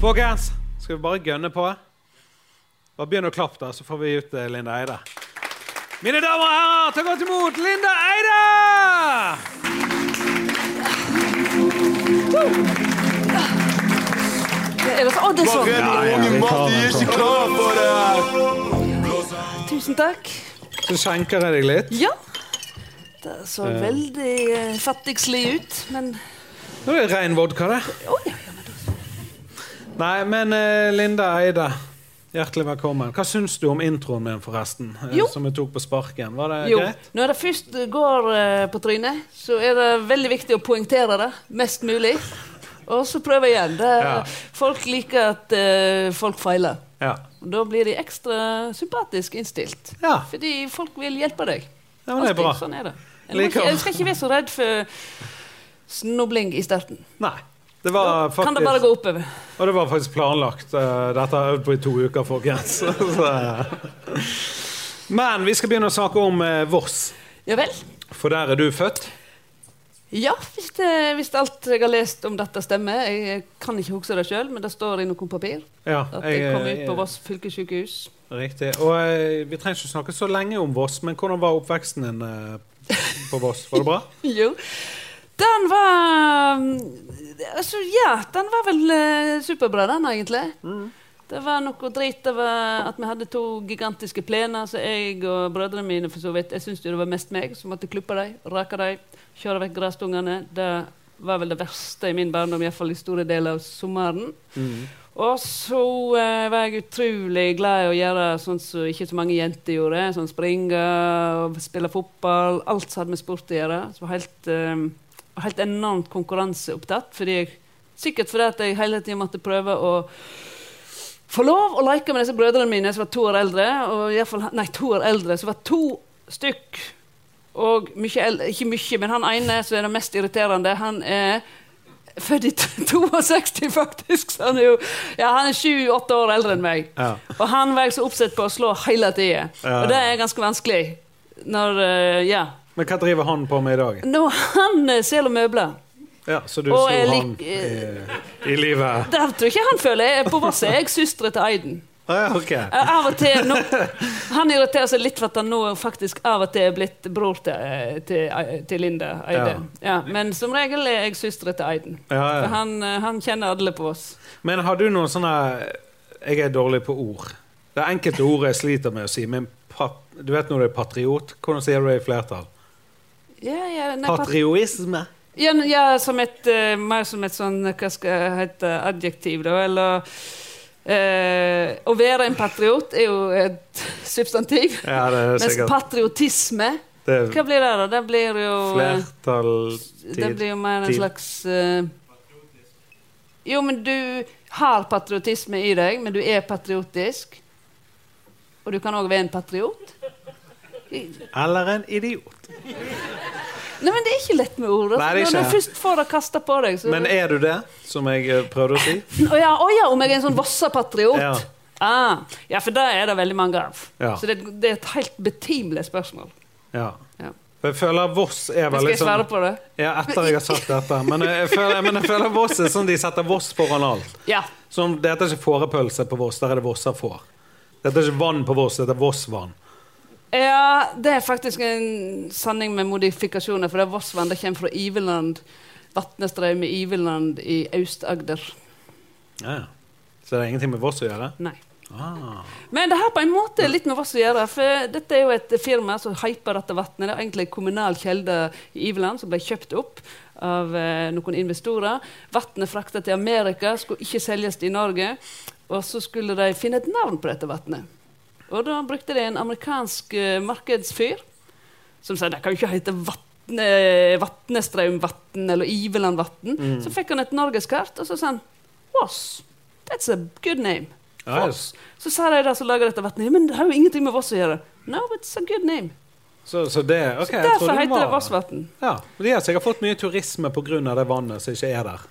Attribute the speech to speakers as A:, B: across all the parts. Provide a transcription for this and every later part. A: folkens, skal vi bare gønne på? Bare begynn å klappe, da, så får vi ut eh, Linda Eide. Mine damer og herrer, ta godt imot Linda Eide!
B: Er det så, å, det er sånn. Tusen takk.
A: Så skjenker jeg deg litt.
B: Ja. Det så veldig eh, fattigslig ut, men
A: Nå er det rein vodka, det.
B: Å ja, ja, men
A: Nei, men eh, Linda Eide, hjertelig velkommen. Hva syns du om introen min, forresten? eh,
B: Jo.
A: Som jeg tok på sparken. Var det
B: Jo,
A: greit?
B: når det først går eh, på trynet, så er det veldig viktig å poengtere det mest mulig. Og så prøve igjen. Det,
A: Ja.
B: Folk liker at eh, folk feiler.
A: Ja.
B: Og Da blir de ekstra sympatisk innstilt.
A: ja.
B: Fordi folk vil hjelpe deg.
A: ja men det er bra.
B: Alltid. Sånn er det. En må
A: Liker.
B: ikke- en skal ikke være så redd for snubling i starten.
A: Nei. Det var
B: Da kan det bare
A: faktisk,
B: gå oppover.
A: og det var faktisk planlagt. eh, dette har jeg øvd på i to uker, folkens. Så- eh. Men vi skal begynne å snakke om eh, Voss.
B: Ja vel?
A: For der er du født.
B: Ja, hvis, det, hvis alt jeg har lest om dette stemmer. Jeg kan ikke huske det sjøl, men det står i noen papir
A: Ja,
B: at jeg kom ut
A: eh,
B: på Voss fylkessykehus.
A: Riktig. Og eh, vi trenger ikke snakke så lenge om Voss, men hvordan var oppveksten din eh, på Voss? Var det bra?
B: Jo. Den var mm, Altså, ja, den var vel eh, superbra, den, egentlig. Det var noe drit det var at vi hadde to gigantiske plener, så jeg og brødrene mine for så vidt Jeg syntes jo det var mest meg som måtte klippe dem, rake dem, kjøre vekk gressstungene. Det var vel det verste i min barndom, iallfall i store deler av sommeren.
A: Mm.
B: Og så eh, var jeg utrolig glad i å gjøre sånn som ikke så mange jenter gjorde. Sånn springe og spille fotball. Alt som hadde med sport å gjøre. Så var helt, eh, helt enormt konkurranseopptatt. Fordi jeg, sikkert fordi at jeg hele tiden måtte prøve å få lov å leke med disse brødrene mine som var to år eldre. Og i hvert fall, nei, to år eldre, som var to stykk. Og mye eldre, ikke mye, men han ene som er det mest irriterende, han er født i 62, faktisk. Så han er jo ja, han er sju-åtte år eldre enn meg.
A: Ja.
B: Og han var jeg så oppsett på å slå hele tida.
A: Ja.
B: Og det er ganske vanskelig. Når, eh, ja.
A: Men hva driver han på med i dag?
B: Når han eh, selger møbler
A: Ja, så du
B: Og
A: slo
B: jeg lik-
A: han i, i livet?
B: Der tror jeg ikke han føler jeg er på Voss. Jeg er søstera til Aiden.
A: Ah, ja, ok.
B: Eh, Av og til nå, Han irriterer seg litt for at han nå faktisk av og til er blitt bror til, eh, til, eh, til Linda Eide. Ja. men som regel er jeg søstera til Aiden.
A: Ja,
B: For
A: ja.
B: han, eh, han kjenner alle på oss.
A: Men har du noen sånne Jeg er dårlig på ord. Det er enkelte ord jeg sliter med å si, men pat, du vet når du er patriot? Hvordan sier du det i flertall?
B: Ja, ja, nei, pat-
A: Patrioisme.
B: ja, n- ja som et, eh, mer som et sånn eh, Hva skal jeg hete adjektiv, da? Eller eh, Å være en patriot er jo et substantiv.
A: Ja, det er
B: Mens
A: sikkert
B: patriotisme
A: det
B: Hva
A: er
B: blir det, da? Det blir jo eh, Det
A: flertalltid.
B: blir jo mer en
A: Tid.
B: slags eh, Jo, men du har patriotisme i deg, men du er patriotisk. Og du kan òg være en patriot.
A: Eller en idiot.
B: Nei, men det er ikke lett med ord. Altså.
A: Nei, det er
B: Når
A: ikke.
B: du først får det kasta på deg, så
A: Men er du det, som jeg eh, prøvde å si?
B: Å ja, å ja, om jeg er en sånn Vossa-patriot?
A: Ja.
B: Ah, ja, for det er det veldig mange av.
A: Ja.
B: Så det, det er et helt betimelig spørsmål.
A: Ja.
B: Ja.
A: For jeg føler Voss er
B: Men skal
A: veldig
B: jeg
A: sånn
B: svare på det?
A: Ja, etter jeg har sagt dette. Men jeg føler, men jeg føler Voss er sånn de setter Voss foran alt.
B: Ja.
A: Som, det heter ikke fårepølse på Voss, der er det Vossa får. Det heter ikke vann på Voss, det heter Vossvann.
B: Ja, det er faktisk en sanning med modifikasjoner. For det er Vossvann det kommer fra Iveland. Vatnestraume Iveland i Aust-Agder.
A: Ja. ja. Så det er ingenting med Voss å gjøre?
B: Nei.
A: Ah.
B: Men det har på en måte litt med Voss å gjøre. For dette er jo et firma som hyper dette vannet. Det er egentlig en kommunal kjelde i Iveland som ble kjøpt opp av eh, noen investorer. Vannet frakta til Amerika, skulle ikke selges i Norge. Og så skulle de finne et navn på dette vannet. Og da brukte de en amerikansk eh, markedsfyr som sa det kan jo ikke hete Vatne, Vatnestraumvatn eller Ivelandvatn. Så fikk han et norgeskart, og så sa han Voss. That's a good name.
A: Ja,
B: Voss. Så sa de der som lager dette vannet, men det har jo ingenting med Voss å gjøre. No, it's a good name.
A: Så, så det ok, jeg
B: Derfor
A: trodde det
B: heter det
A: var-
B: Vossvatn.
A: Ja, men De har sikkert fått mye turisme pga. det vannet som ikke er der.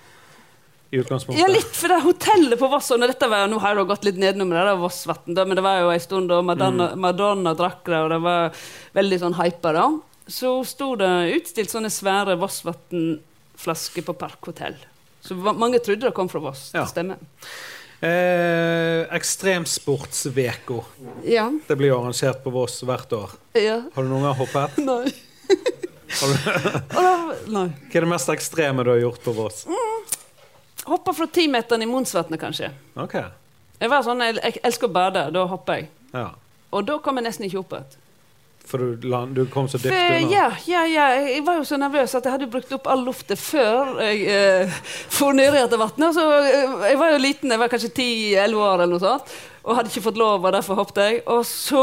A: I utgangspunktet.
B: Ja, litt, for det hotellet på Voss og når dette var, Nå har jeg jo gått litt nedenom det, det var Vossvatn, da, men det var jo en stund da Madonna,
A: Mm.
B: Madonna drakk det, og det var veldig sånn hypa da. Så sto det utstilt sånne svære Vossvatn-flasker på Parkhotell. Så va- mange trodde det kom fra Voss.
A: Ja.
B: Det stemmer.
A: Eh, Ekstremsportsveko.
B: Ja.
A: Det blir jo arrangert på Voss hvert år.
B: ja.
A: Har du noen gang hoppet?
B: Nei.
A: Har du,
B: Og da, nei.
A: hva er det mest ekstreme du har gjort på Voss?
B: Hoppa fra timeteren i Monsvatnet, kanskje.
A: Ok,
B: Jeg var sånn, jeg, jeg elsker å bade, da hopper jeg.
A: ja.
B: Og da kom jeg nesten ikke opp igjen.
A: For du, land, du kom så dypt
B: For-
A: unna.
B: Ja, ja, ja. Jeg var jo så nervøs at jeg hadde brukt opp all lufta før jeg eh, for nedi etter vannet. Så eh, jeg var jo liten, jeg var kanskje 10-11 år eller noe sånt, og hadde ikke fått lov, og derfor hoppet jeg. Og så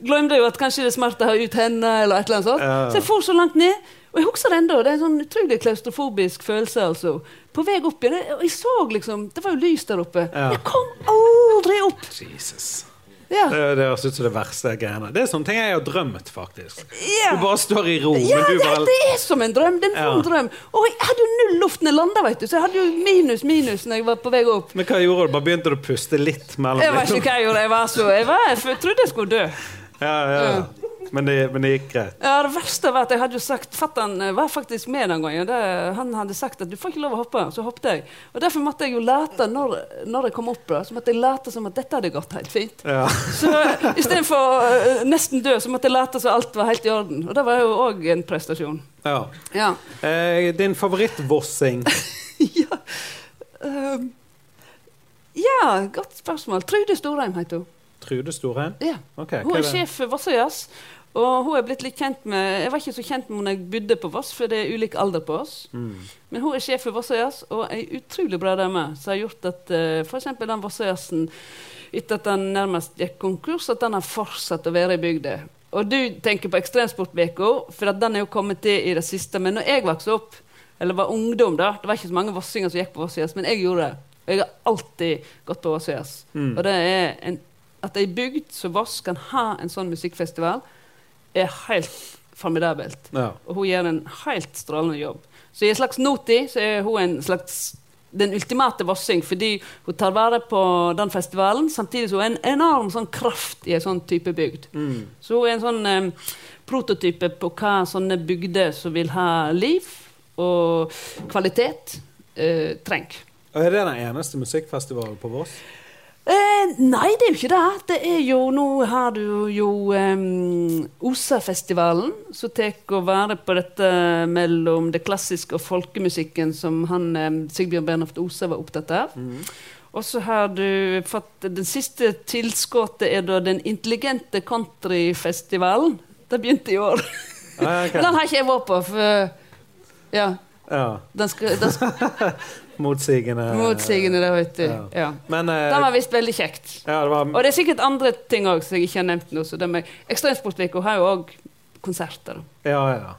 B: glemte jeg jo at kanskje det er smart å ha ut hendene eller et eller annet sånt.
A: Ja.
B: Så jeg for så langt ned. Og jeg husker det ennå. Det er en sånn utrolig klaustrofobisk følelse, altså. På vei opp igjen. Jeg, jeg så liksom Det var jo lys der oppe.
A: Ja.
B: Jeg kom aldri opp.
A: Jesus.
B: Ja.
A: Det det høres ut som det verste greiene. Det er sånne ting jeg har drømt, faktisk.
B: Ja.
A: Du bare står i ro,
B: Ja,
A: men du
B: det,
A: bare
B: det er som en drøm. Det er en
A: Ja.
B: vond drøm. Og jeg hadde jo null luft når jeg landa, vet du. Så jeg hadde jo minus, minus når jeg var på vei opp.
A: Men hva gjorde du? Bare begynte du å puste litt mellom
B: Jeg vet ikke hva jeg gjorde. Jeg var så Jeg, var, jeg f- trodde jeg skulle dø.
A: Ja, ja, ja. Men, det, men det gikk greit.
B: Ja, det verste var at jeg hadde jo sagt Fatter'n eh, var faktisk med den gangen. Det, han hadde sagt at 'du får ikke lov å hoppe', så hoppet jeg. Og derfor måtte jeg jo late når, når jeg kom opp, da, så måtte jeg late som at dette hadde gått helt fint.
A: Ja.
B: Så istedenfor uh, nesten dø, så måtte jeg late som alt var helt i orden. Og det var jo òg en prestasjon.
A: ja.
B: Ja.
A: Eh, din favorittvossing?
B: ja. ehm, ja, godt spørsmål. Trude Storheim heter hun.
A: Trude Storheim?
B: Ja.
A: Ok, hva
B: Hun
A: er
B: er
A: det?
B: sjef for Vossøyas. Og hun er blitt litt kjent med Jeg var ikke så kjent med henne da jeg bodde på Voss, for det er ulik alder på oss.
A: Mm.
B: Men hun er sjef for Vossøyas, og ei utrolig bra dame som har gjort at eh, for f.eks. den Vossøyasen, etter at den nærmest gikk konkurs, at den har fortsatt å være i bygda. Og du tenker på Ekstremsportveka, for at den er jo kommet til i det siste. Men når jeg vokste opp, eller var ungdom, da, det var ikke så mange vossinger som gikk på Vossøyas, men jeg gjorde det. Og jeg har alltid gått på Vossøyas.
A: Mm.
B: Og det er en, at ei bygd som Voss kan ha en sånn musikkfestival, er helt formidabelt.
A: Ja.
B: Og hun gjør en helt strålende jobb. Så i en slags noti så er hun en slags den ultimate vossing, fordi hun tar vare på den festivalen, samtidig som hun er en enorm sånn kraft i en sånn type bygd.
A: Mm.
B: Så hun er en sånn em, prototype på hva sånne bygder som vil ha liv og kvalitet, eh, trenger.
A: Og er det den eneste musikkfestivalen på Voss?
B: Eh, nei, det er jo ikke det. Det er jo, Nå har du jo em, OSA-festivalen, som tar vare på dette mellom det klassiske og folkemusikken som han, em, Sigbjørn Bernhoft Osa var opptatt av. Og så har du fått Den siste tilskuddet er da Den intelligente countryfestivalen. Det begynte i år.
A: Ah, ok.
B: Den har ikke jeg vært på, for Ja.
A: Ja.
B: Den skal, den skal
A: Motsigende.
B: motsigende, det, vet du.
A: Ja.
B: Ja.
A: Men eh,
B: Den var visst veldig kjekt.
A: ja, det var
B: Og det er sikkert andre ting òg som jeg ikke har nevnt nå. så det med Ekstremsportveka har jo òg konserter.
A: Ja, ja.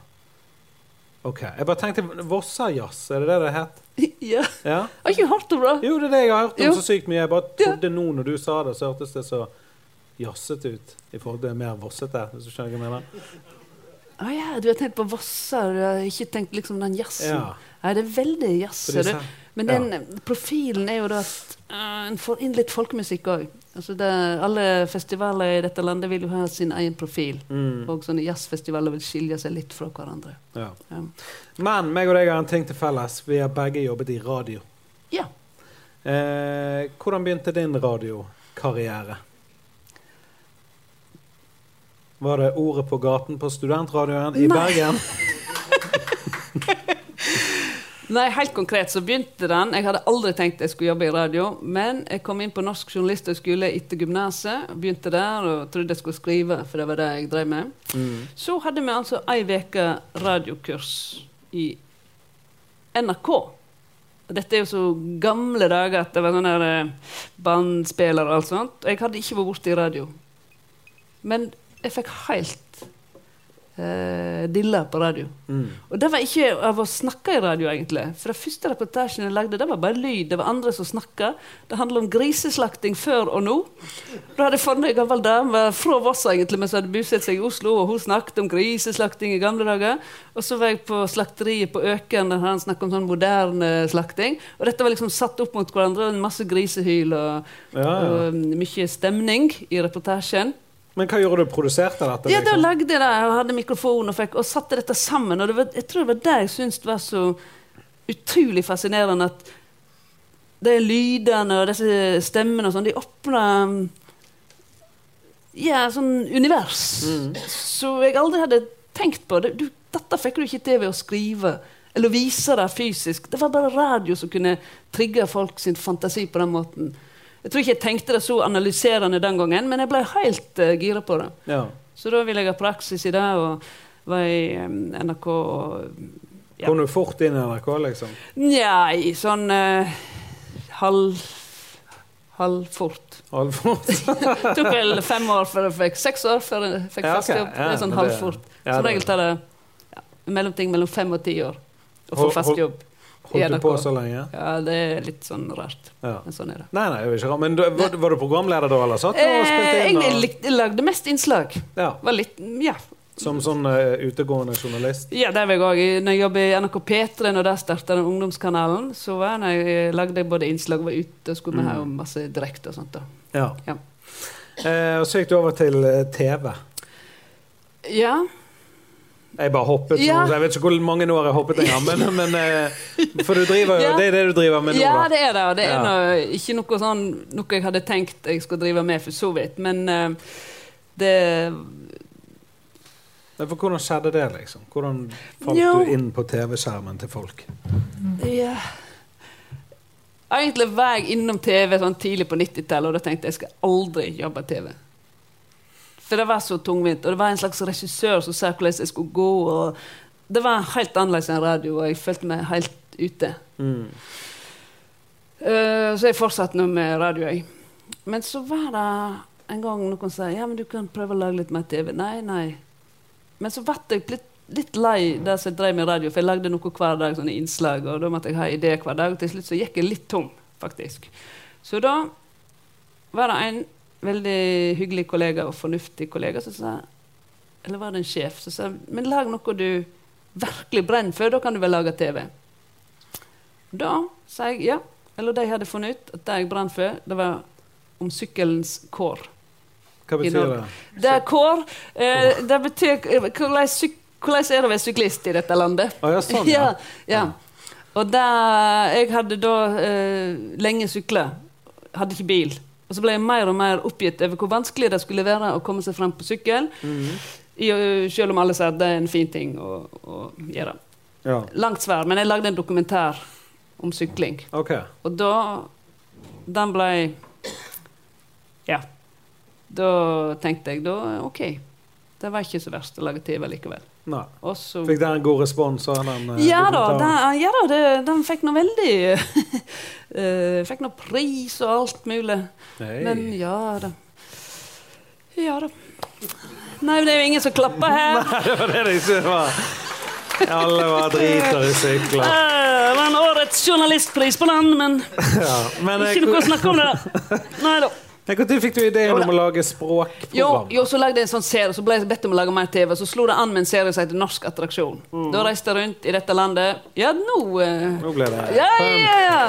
A: OK. Jeg bare tenkte Vossajazz, er det det det het?
B: ja.
A: Ja?
B: Har ikke hørt det, bra?
A: Jo, det er det jeg har hørt om
B: Jo.
A: så sykt mye. Jeg bare trodde nå når du sa det, så hørtes det så jazzete ut i forhold til mer vossete, hvis du skjønner hva jeg mener.
B: Å ja, du har tenkt på Vossa, du har ikke tenkt liksom den jazzen.
A: Ja.
B: Nei, det er veldig jazz.
A: For de
B: er det.
A: sa-
B: Men den eh, profilen er jo da at eh, en får inn litt folkemusikk òg. Altså det- alle festivaler i dette landet vil jo ha sin egen profil.
A: Mm,
B: Og sånne jazzfestivaler vil skilje seg litt fra hverandre.
A: ja.
B: Ja.
A: Men meg og deg har en ting til felles. Vi har begge jobbet i radio.
B: ja.
A: Eh, hvordan begynte din radiokarriere? Var det Ordet på gaten på studentradioen i
B: Nei.
A: Bergen?
B: Nei, helt konkret så begynte den. Jeg hadde aldri tenkt jeg skulle jobbe i radio, men jeg kom inn på Norsk journalisthøgskole etter gymnaset. og Begynte der og trodde jeg skulle skrive, for det var det jeg drev med.
A: Mm.
B: Så hadde vi altså ei uke radiokurs i NRK. Og Dette er jo så gamle dager at det var sånn der eh, bandspiller og alt sånt. Og jeg hadde ikke vært borte i radio. Men jeg fikk helt eh, dilla på radio.
A: Mm.
B: Og det var ikke av å snakke i radio, egentlig. For den første reportasjen jeg lagde, det var bare lyd. Det var andre som snakka. Det handla om griseslakting før og nå. Da hadde jeg funnet ei gammel dame fra Voss, egentlig, men som hadde bosatt seg i Oslo, og hun snakket om griseslakting i gamle dager. Og så var jeg på slakteriet på Økern, der han snakket om sånn moderne slakting. Og dette var liksom satt opp mot hverandre, og en masse grisehyl og,
A: Ja, ja.
B: og mm, mye stemning i reportasjen.
A: Men hva gjorde du? Produserte dette?
B: Ja, da
A: liksom?
B: lagde jeg det. Jeg hadde mikrofon og, fikk, og satte dette sammen. Og det var, jeg tror det var det jeg syntes var så utrolig fascinerende. At de lydene og disse stemmene og sånn, de åpner mm, Ja, sånn univers som jeg aldri hadde tenkt på. Det, du, dette fikk du ikke til ved å skrive eller vise det fysisk. Det var bare radio som kunne trigge folk sin fantasi på den måten. Jeg tror ikke jeg tenkte det så analyserende den gangen, men jeg ble helt eh, gira på det.
A: Ja.
B: Så da ville jeg ha praksis i det, og var i eh, NRK og Ja.
A: Kom du fort inn i NRK, liksom?
B: Nja, i sånn eh, halv halvfort.
A: Alvor?
B: Det tok vel fem år før jeg fikk seks år før jeg fikk
A: Ja, ok.
B: første jobb. det
A: Ja,
B: er sånn
A: men det-
B: halvfort.
A: ja,
B: Som
A: det-
B: regel tar det ja, en mellomting mellom fem og ti år å få
A: Hold-
B: fast
A: hold-
B: jobb.
A: Holdt du
B: NRK.
A: på så lenge?
B: Ja, det er litt sånn rart,
A: Ja.
B: men sånn er det.
A: Nei, nei, jeg vil ikke ha- men du, var, var du programleder da, eller satt du og spilte
B: Eh,
A: inn?
B: egentlig
A: Og,
B: likte- jeg lagde mest innslag.
A: ja,
B: Var litt, ja.
A: som sånn eh, utegående journalist?
B: ja, der var jeg òg. Når jeg jobbet i NRK P3, når der starta den ungdomskanalen, så var jeg, når jeg eh, lagde jeg både innslag og var ute og skulle med her og masse direkte og sånt. da.
A: Ja.
B: Ja.
A: Eh, og så gikk du over til eh, TV.
B: Ja.
A: Jeg bare hoppet
B: Ja.
A: sånn, så Jeg vet ikke hvor mange år jeg hoppet engang, men, men eh, For du driver jo
B: Ja.
A: Det er det du driver med nå, da?
B: ja, det er det. og Det er
A: Ja.
B: noe, ikke noe, sånn, noe jeg hadde tenkt jeg skulle drive med, for så vidt. Men eh, det
A: Nei, For hvordan skjedde det, liksom? Hvordan falt
B: Jo.
A: du inn på TV-skjermen til folk?
B: ja. Egentlig var jeg innom TV sånn tidlig på 90-tallet, og da tenkte jeg jeg skal aldri jobbe TV. For det var så tungvint, og det var en slags regissør som sa hvordan jeg skulle gå. og Det var helt annerledes enn radio, og jeg følte meg helt ute.
A: Mm.
B: Eh, så jeg fortsatte nå med radio. Jeg. Men så var det en gang noen sa ja, men du kan prøve å lage litt mer TV. Nei, nei. Men så ble jeg litt, litt lei det som jeg drev med radio, for jeg lagde noe hver dag, sånne innslag, og da måtte jeg ha ideer hver dag. Og til slutt så gikk jeg litt tom, faktisk. Så da var det en veldig hyggelig kollega og fornuftig kollega som sa Eller var det en sjef som sa men lag noe du virkelig brenner for, da kan du vel lage TV. Da sa jeg ja. Eller de hadde funnet ut at det jeg brant for, det var om sykkelens kår.
A: Hva
B: I
A: betyr
B: Norge.
A: det?
B: Det er kår. Eh, det betyr hvordan, syk, hvordan er det å være syklist i dette landet?
A: Å ja, sånn, ja.
B: ja. Og der, jeg hadde da eh, lenge sykla, hadde ikke bil. Og så ble jeg mer og mer oppgitt over hvor vanskelig det skulle være å komme seg fram på sykkel,
A: Mm.
B: i, eh, selv om alle sa at det er en fin ting å, å gjøre.
A: Ja.
B: Langt svær, men jeg lagde en dokumentar om sykling.
A: OK.
B: Og da Den ble Ja. Da tenkte jeg da OK. Det var ikke så verst å lage TV likevel.
A: Nei.
B: Og så
A: Fikk den en god respons? av Den, eh,
B: ja da,
A: dokumentaren?
B: den, ja da det, den fikk nå veldig eh, Fikk nå pris og alt mulig.
A: Nei.
B: Men ja da. Ja da. Nei, det er jo ingen som klapper her.
A: Det var det jeg syntes var Alle var driter i sykler.
B: Eh, Det var en årets journalistpris på den, men
A: Ja. Men eh,
B: ikke noe å snakke om det der. Nei da.
A: når fikk du ideen om å lage
B: Jo,
A: språkprogram?
B: jo, så lagde jeg en sånn serie, så ble jeg bedt om å lage mer TV. Så slo det an med en serie som heter Norsk attraksjon. Da reiste jeg rundt i dette landet. Ja, nå eh,
A: Nå ble det
B: Ja, ja, ja!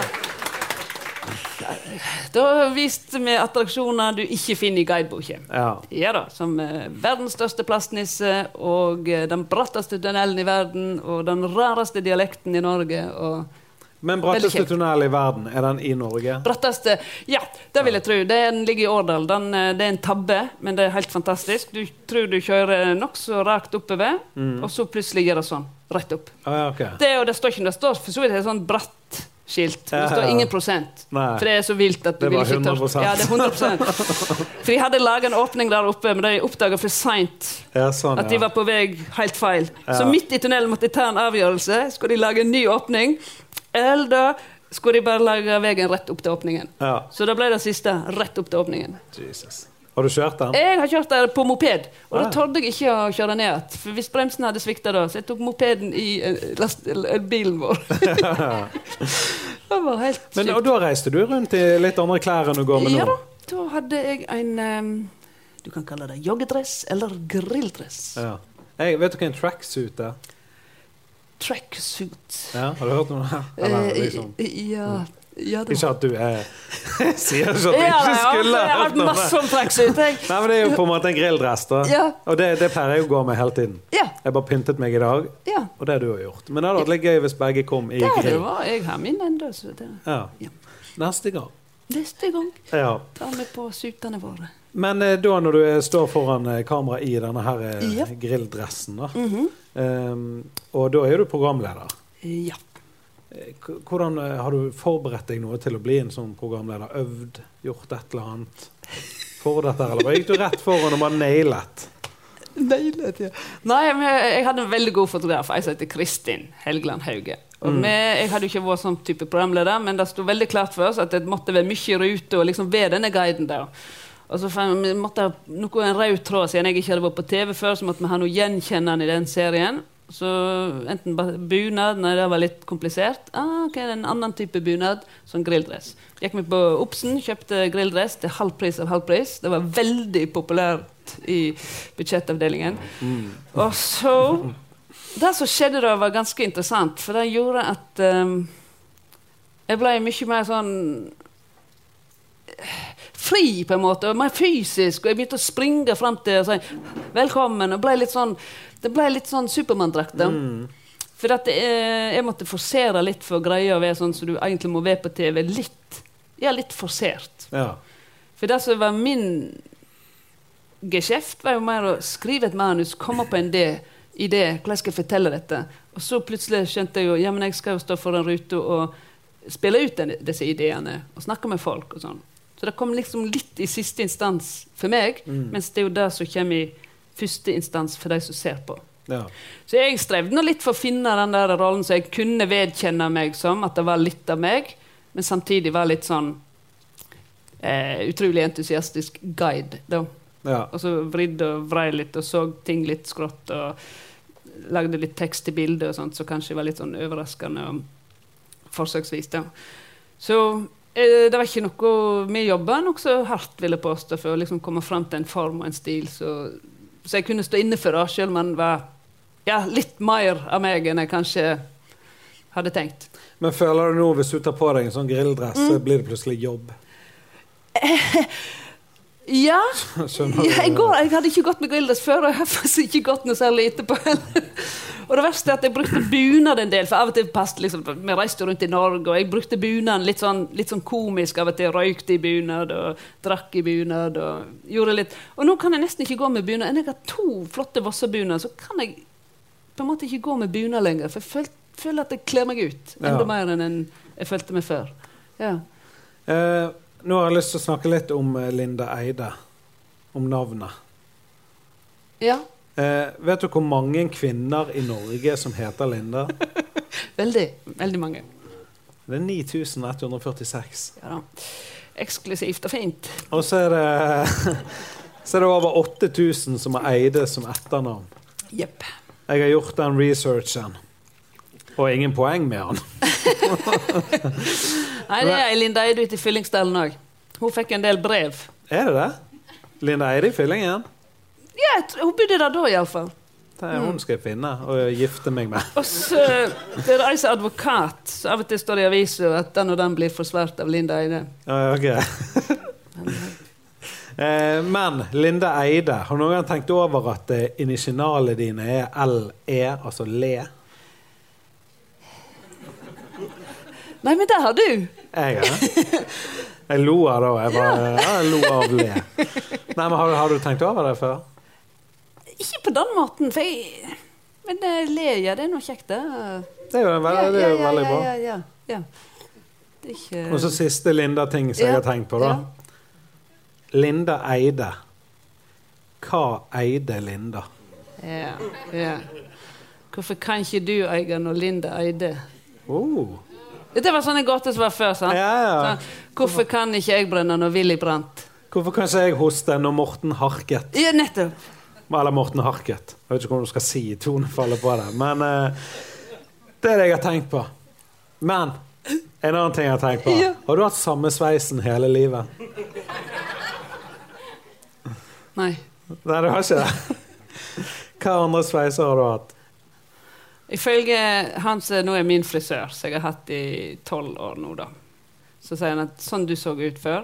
B: Da viste vi attraksjoner du ikke finner i guideboka.
A: ja.
B: Ja da, Som eh, verdens største plastnisse og eh, den bratteste tunnelen i verden og den rareste dialekten i Norge. og...
A: Men bratteste
B: Veldig kjekt.
A: tunnel i verden, er den i Norge?
B: bratteste Ja, det vil jeg tro. Den ligger i Årdal. Den, eh, det er en tabbe, men det er helt fantastisk. Du tror du kjører nokså rakt oppover,
A: Mm.
B: og så plutselig gjør det sånn. Rett opp.
A: Å, Ah, ja, ok.
B: Det, og det står ikke det står for så vidt et sånn bratt skilt. men Det
A: Ja, ja,
B: står
A: ja.
B: ingen prosent.
A: Nei.
B: For det er så vilt at du
A: Det
B: vil
A: var
B: ikke tørre.
A: 100%.
B: Ja, det er 100 For de hadde laga en åpning der oppe, men de oppdaga for seint
A: Ja, sånn,
B: at de
A: ja.
B: var på vei helt feil.
A: Ja.
B: Så midt i tunnelen måtte de ta en avgjørelse. Skulle de lage en ny åpning, eller skulle de bare lage veien rett opp til åpningen?
A: ja.
B: Så da ble det siste rett opp til åpningen.
A: Jesus. Har du kjørt den?
B: Jeg har kjørt der på moped, og da
A: Ah.
B: torde jeg ikke å kjøre ned igjen. For hvis bremsen hadde svikta da, så jeg tok mopeden i eh, last, eller, eh, bilen vår. det var helt
A: Men, og
B: sykt.
A: da reiste du rundt i litt andre klær enn du går med nå?
B: Ja da, da hadde jeg en em, Du kan kalle det joggedress eller grilldress.
A: Ja. Hey, vet du hva en tracksuit er?
B: Tracksuit.
A: Ja, har du hørt om det? Eller,
B: Eh,
A: liksom.
B: i- i- ja, ja, det var-
A: Ikke at du er Sier ikke at du
B: Ja,
A: ikke
B: nei, altså,
A: skulle
B: jeg har
A: hørt
B: hatt
A: om
B: masse
A: det.
B: om tracksuit. jeg.
A: Nei, men Det er jo på en måte en grilldress, da.
B: Ja.
A: Og det, det pleier jeg å gå med hele tiden.
B: Ja,
A: Jeg bare pyntet meg i dag,
B: ja.
A: og det har du har gjort. Men det hadde vært litt gøy hvis begge kom i
B: Der
A: grill.
B: var jeg her min ennå.
A: Ja.
B: Ja.
A: neste gang.
B: Neste gang
A: Ja.
B: tar vi på sutene våre.
A: Men eh, da når du eh, står foran eh, kamera i denne her eh,
B: Ja.
A: grilldressen, da,
B: Mhm.
A: eh, og da er du programleder
B: Ja.
A: Eh, k- Hvordan eh, Har du forberedt deg noe til å bli en sånn programleder? Øvd? Gjort et eller annet for dette? Eller bare gikk du rett foran og bare nailet?
B: Deilig. Ja. Nei, men jeg jeg hadde en veldig god fotograf, ei som heter Kristin Helgeland Hauge. Og vi, jeg hadde jo ikke vært sånn type programleder, men det sto veldig klart for oss at det måtte være mye i rute og liksom være denne guiden der. Og så fant vi vi måtte ha noe en rød tråd, siden jeg ikke hadde vært på TV før, så måtte vi ha noe gjenkjennende i den serien. Så enten ba- bunad, nei, det var litt komplisert. Ah, ok, det er En annen type bunad, som grilldress. Gikk vi på Obsen, kjøpte grilldress til halv pris av halv pris. Det var veldig populært i budsjettavdelingen. Og så Det som skjedde da, var ganske interessant, for det gjorde at ehm, jeg ble mye mer sånn eh, Fri, på en måte, og mer fysisk. Og jeg begynte å springe fram til og si 'velkommen'. og ble litt sånn, Det ble litt sånn Supermann-drakt. da. For at eh, jeg måtte forsere litt for å greie å være sånn som du egentlig må være på TV. Litt, ja, litt forsert.
A: Ja.
B: For det som var min geskjeft, var jo mer å skrive et manus, komme på en idé, idé hvordan skal jeg fortelle dette? Og så plutselig skjønte jeg jo ja, men jeg skal jo stå foran ruta og spille ut den, disse ideene og snakke med folk. og sånn. Så det kom liksom litt i siste instans for meg, mens det er jo det som kommer i første instans for de som ser på.
A: ja.
B: Så jeg strevde nå litt for å finne den der rollen som jeg kunne vedkjenne meg som, at det var litt av meg, men samtidig var litt sånn eh, utrolig entusiastisk guide, da.
A: ja.
B: Og så vridde og vrei litt og så ting litt skrått og lagde litt tekst til bildet og sånt, så kanskje var litt sånn overraskende og forsøksvis, da. Så eh, det var ikke noe Vi jobba nokså hardt, vil jeg påstå, for å liksom komme fram til en form og en stil, så, så jeg kunne stå inne for det, sjøl om han var ja, litt mer av meg enn jeg kanskje hadde tenkt.
A: Men føler du nå, hvis du tar på deg en sånn grilldress,
B: Mm.
A: så blir det plutselig jobb?
B: Ja,
A: Skjønner du?
B: Ja, jeg, går, jeg hadde ikke gått med grilldress før, og jeg har faktisk ikke gått noe særlig etterpå heller. Og det verste er at jeg brukte bunad en del, for av og til passet liksom Vi reiste jo rundt i Norge, og jeg brukte bunaden litt sånn, litt sånn komisk. Av og til røykte i bunad, og drakk i bunad, og gjorde litt Og nå kan jeg nesten ikke gå med bunad. Enn jeg har to flotte Vossa-bunader, så kan jeg på en måte ikke gå med bunad lenger, for jeg føl- føler at jeg kler meg ut enda
A: Ja.
B: mer enn en- jeg følte meg før. Ja.
A: Eh, nå har jeg lyst til å snakke litt om eh, Linda Eide. Om navnet.
B: ja.
A: Eh, vet du hvor mange kvinner i Norge som heter Linda?
B: Veldig. Veldig mange.
A: Det er 9146.
B: Ja da. Eksklusivt og fint.
A: Og så er det Så er det over 8000 som har Eide som etternavn.
B: Jepp.
A: Jeg har gjort den researchen. Og ingen poeng med han.
B: Nei, det er Linda Eide ute i Fyllingsdalen òg. Hun fikk en del brev.
A: Er det det? Linda Eide i Fyllingen?
B: Ja, jeg tr- hun bodde der da, iallfall.
A: Det er hun skal jeg finne og gifte meg med.
B: Og så det er ei som er advokat. Så av og til står det i avisa at den og den blir forsvart av Linda Eide.
A: Ja, ok. Eh, Men Linda Eide, har noen gang tenkt over at eh, initialene dine er LE, altså le?
B: Nei, men der har du!
A: Jeg, ja. jeg lo av det. Jeg, bare, ja, jeg lo av le. Nei, men har, har du tenkt over det før?
B: Ikke på den måten, for jeg Men eh, le, ja, det er noe kjekt, det.
A: Det er jo, en veldig, det er jo veldig bra.
B: Ja, ja, ja, ja. Det er ikke
A: Og så siste Linda-ting som jeg
B: Ja,
A: har tenkt på, da. Linda Eide. Hva eide Linda?
B: Ja, ja. Hvorfor kan ikke du eie når Linda Eide
A: Oh.
B: Dette var sånne gåter som var før, sant?
A: Ja, ja.
B: Sånn, hvorfor kan ikke jeg brenne når Willy brant?
A: Hvorfor kan ikke jeg hoste når Morten Harket
B: Ja, nettopp.
A: Eller Morten Harket. Jeg vet ikke hvordan du skal si tonefallet på det. Men eh, det er det jeg har tenkt på. Men en annen ting jeg har tenkt på.
B: Ja.
A: Har du hatt samme sveisen hele livet?
B: Nei.
A: Nei, du har ikke det. Hva andre sveiser har du hatt?
B: Ifølge han som nå er min frisør, som jeg har hatt i tolv år nå, da, så sier han at sånn du så ut før,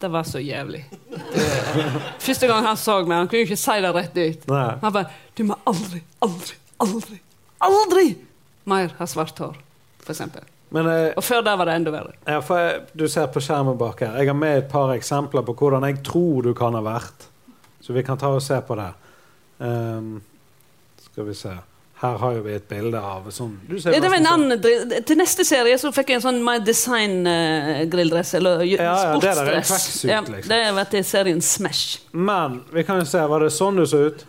B: det var så jævlig. Det, første gang han så meg, han kunne jo ikke si det rett ut.
A: Nei.
B: Han bare 'Du må aldri, aldri, aldri, aldri mer ha svart hår', for eksempel.
A: Men eh,
B: Og før der var det enda verre.
A: ja, for jeg, du ser på skjermen bak her. Jeg har med et par eksempler på hvordan jeg tror du kan ha vært. Så vi kan ta og se på det. Ehm, skal vi se. Her har jo vi et bilde av sånn du ser
B: Ja, det var en
A: nesten sånn-
B: annen dri- Til neste serie så fikk jeg en sånn My Design-grilldress, eller j-
A: Ja, ja, det der er en
B: sportsdress.
A: tracksuit, liksom.
B: det var til serien Smash.
A: Men vi kan jo se. Var det sånn du så ut?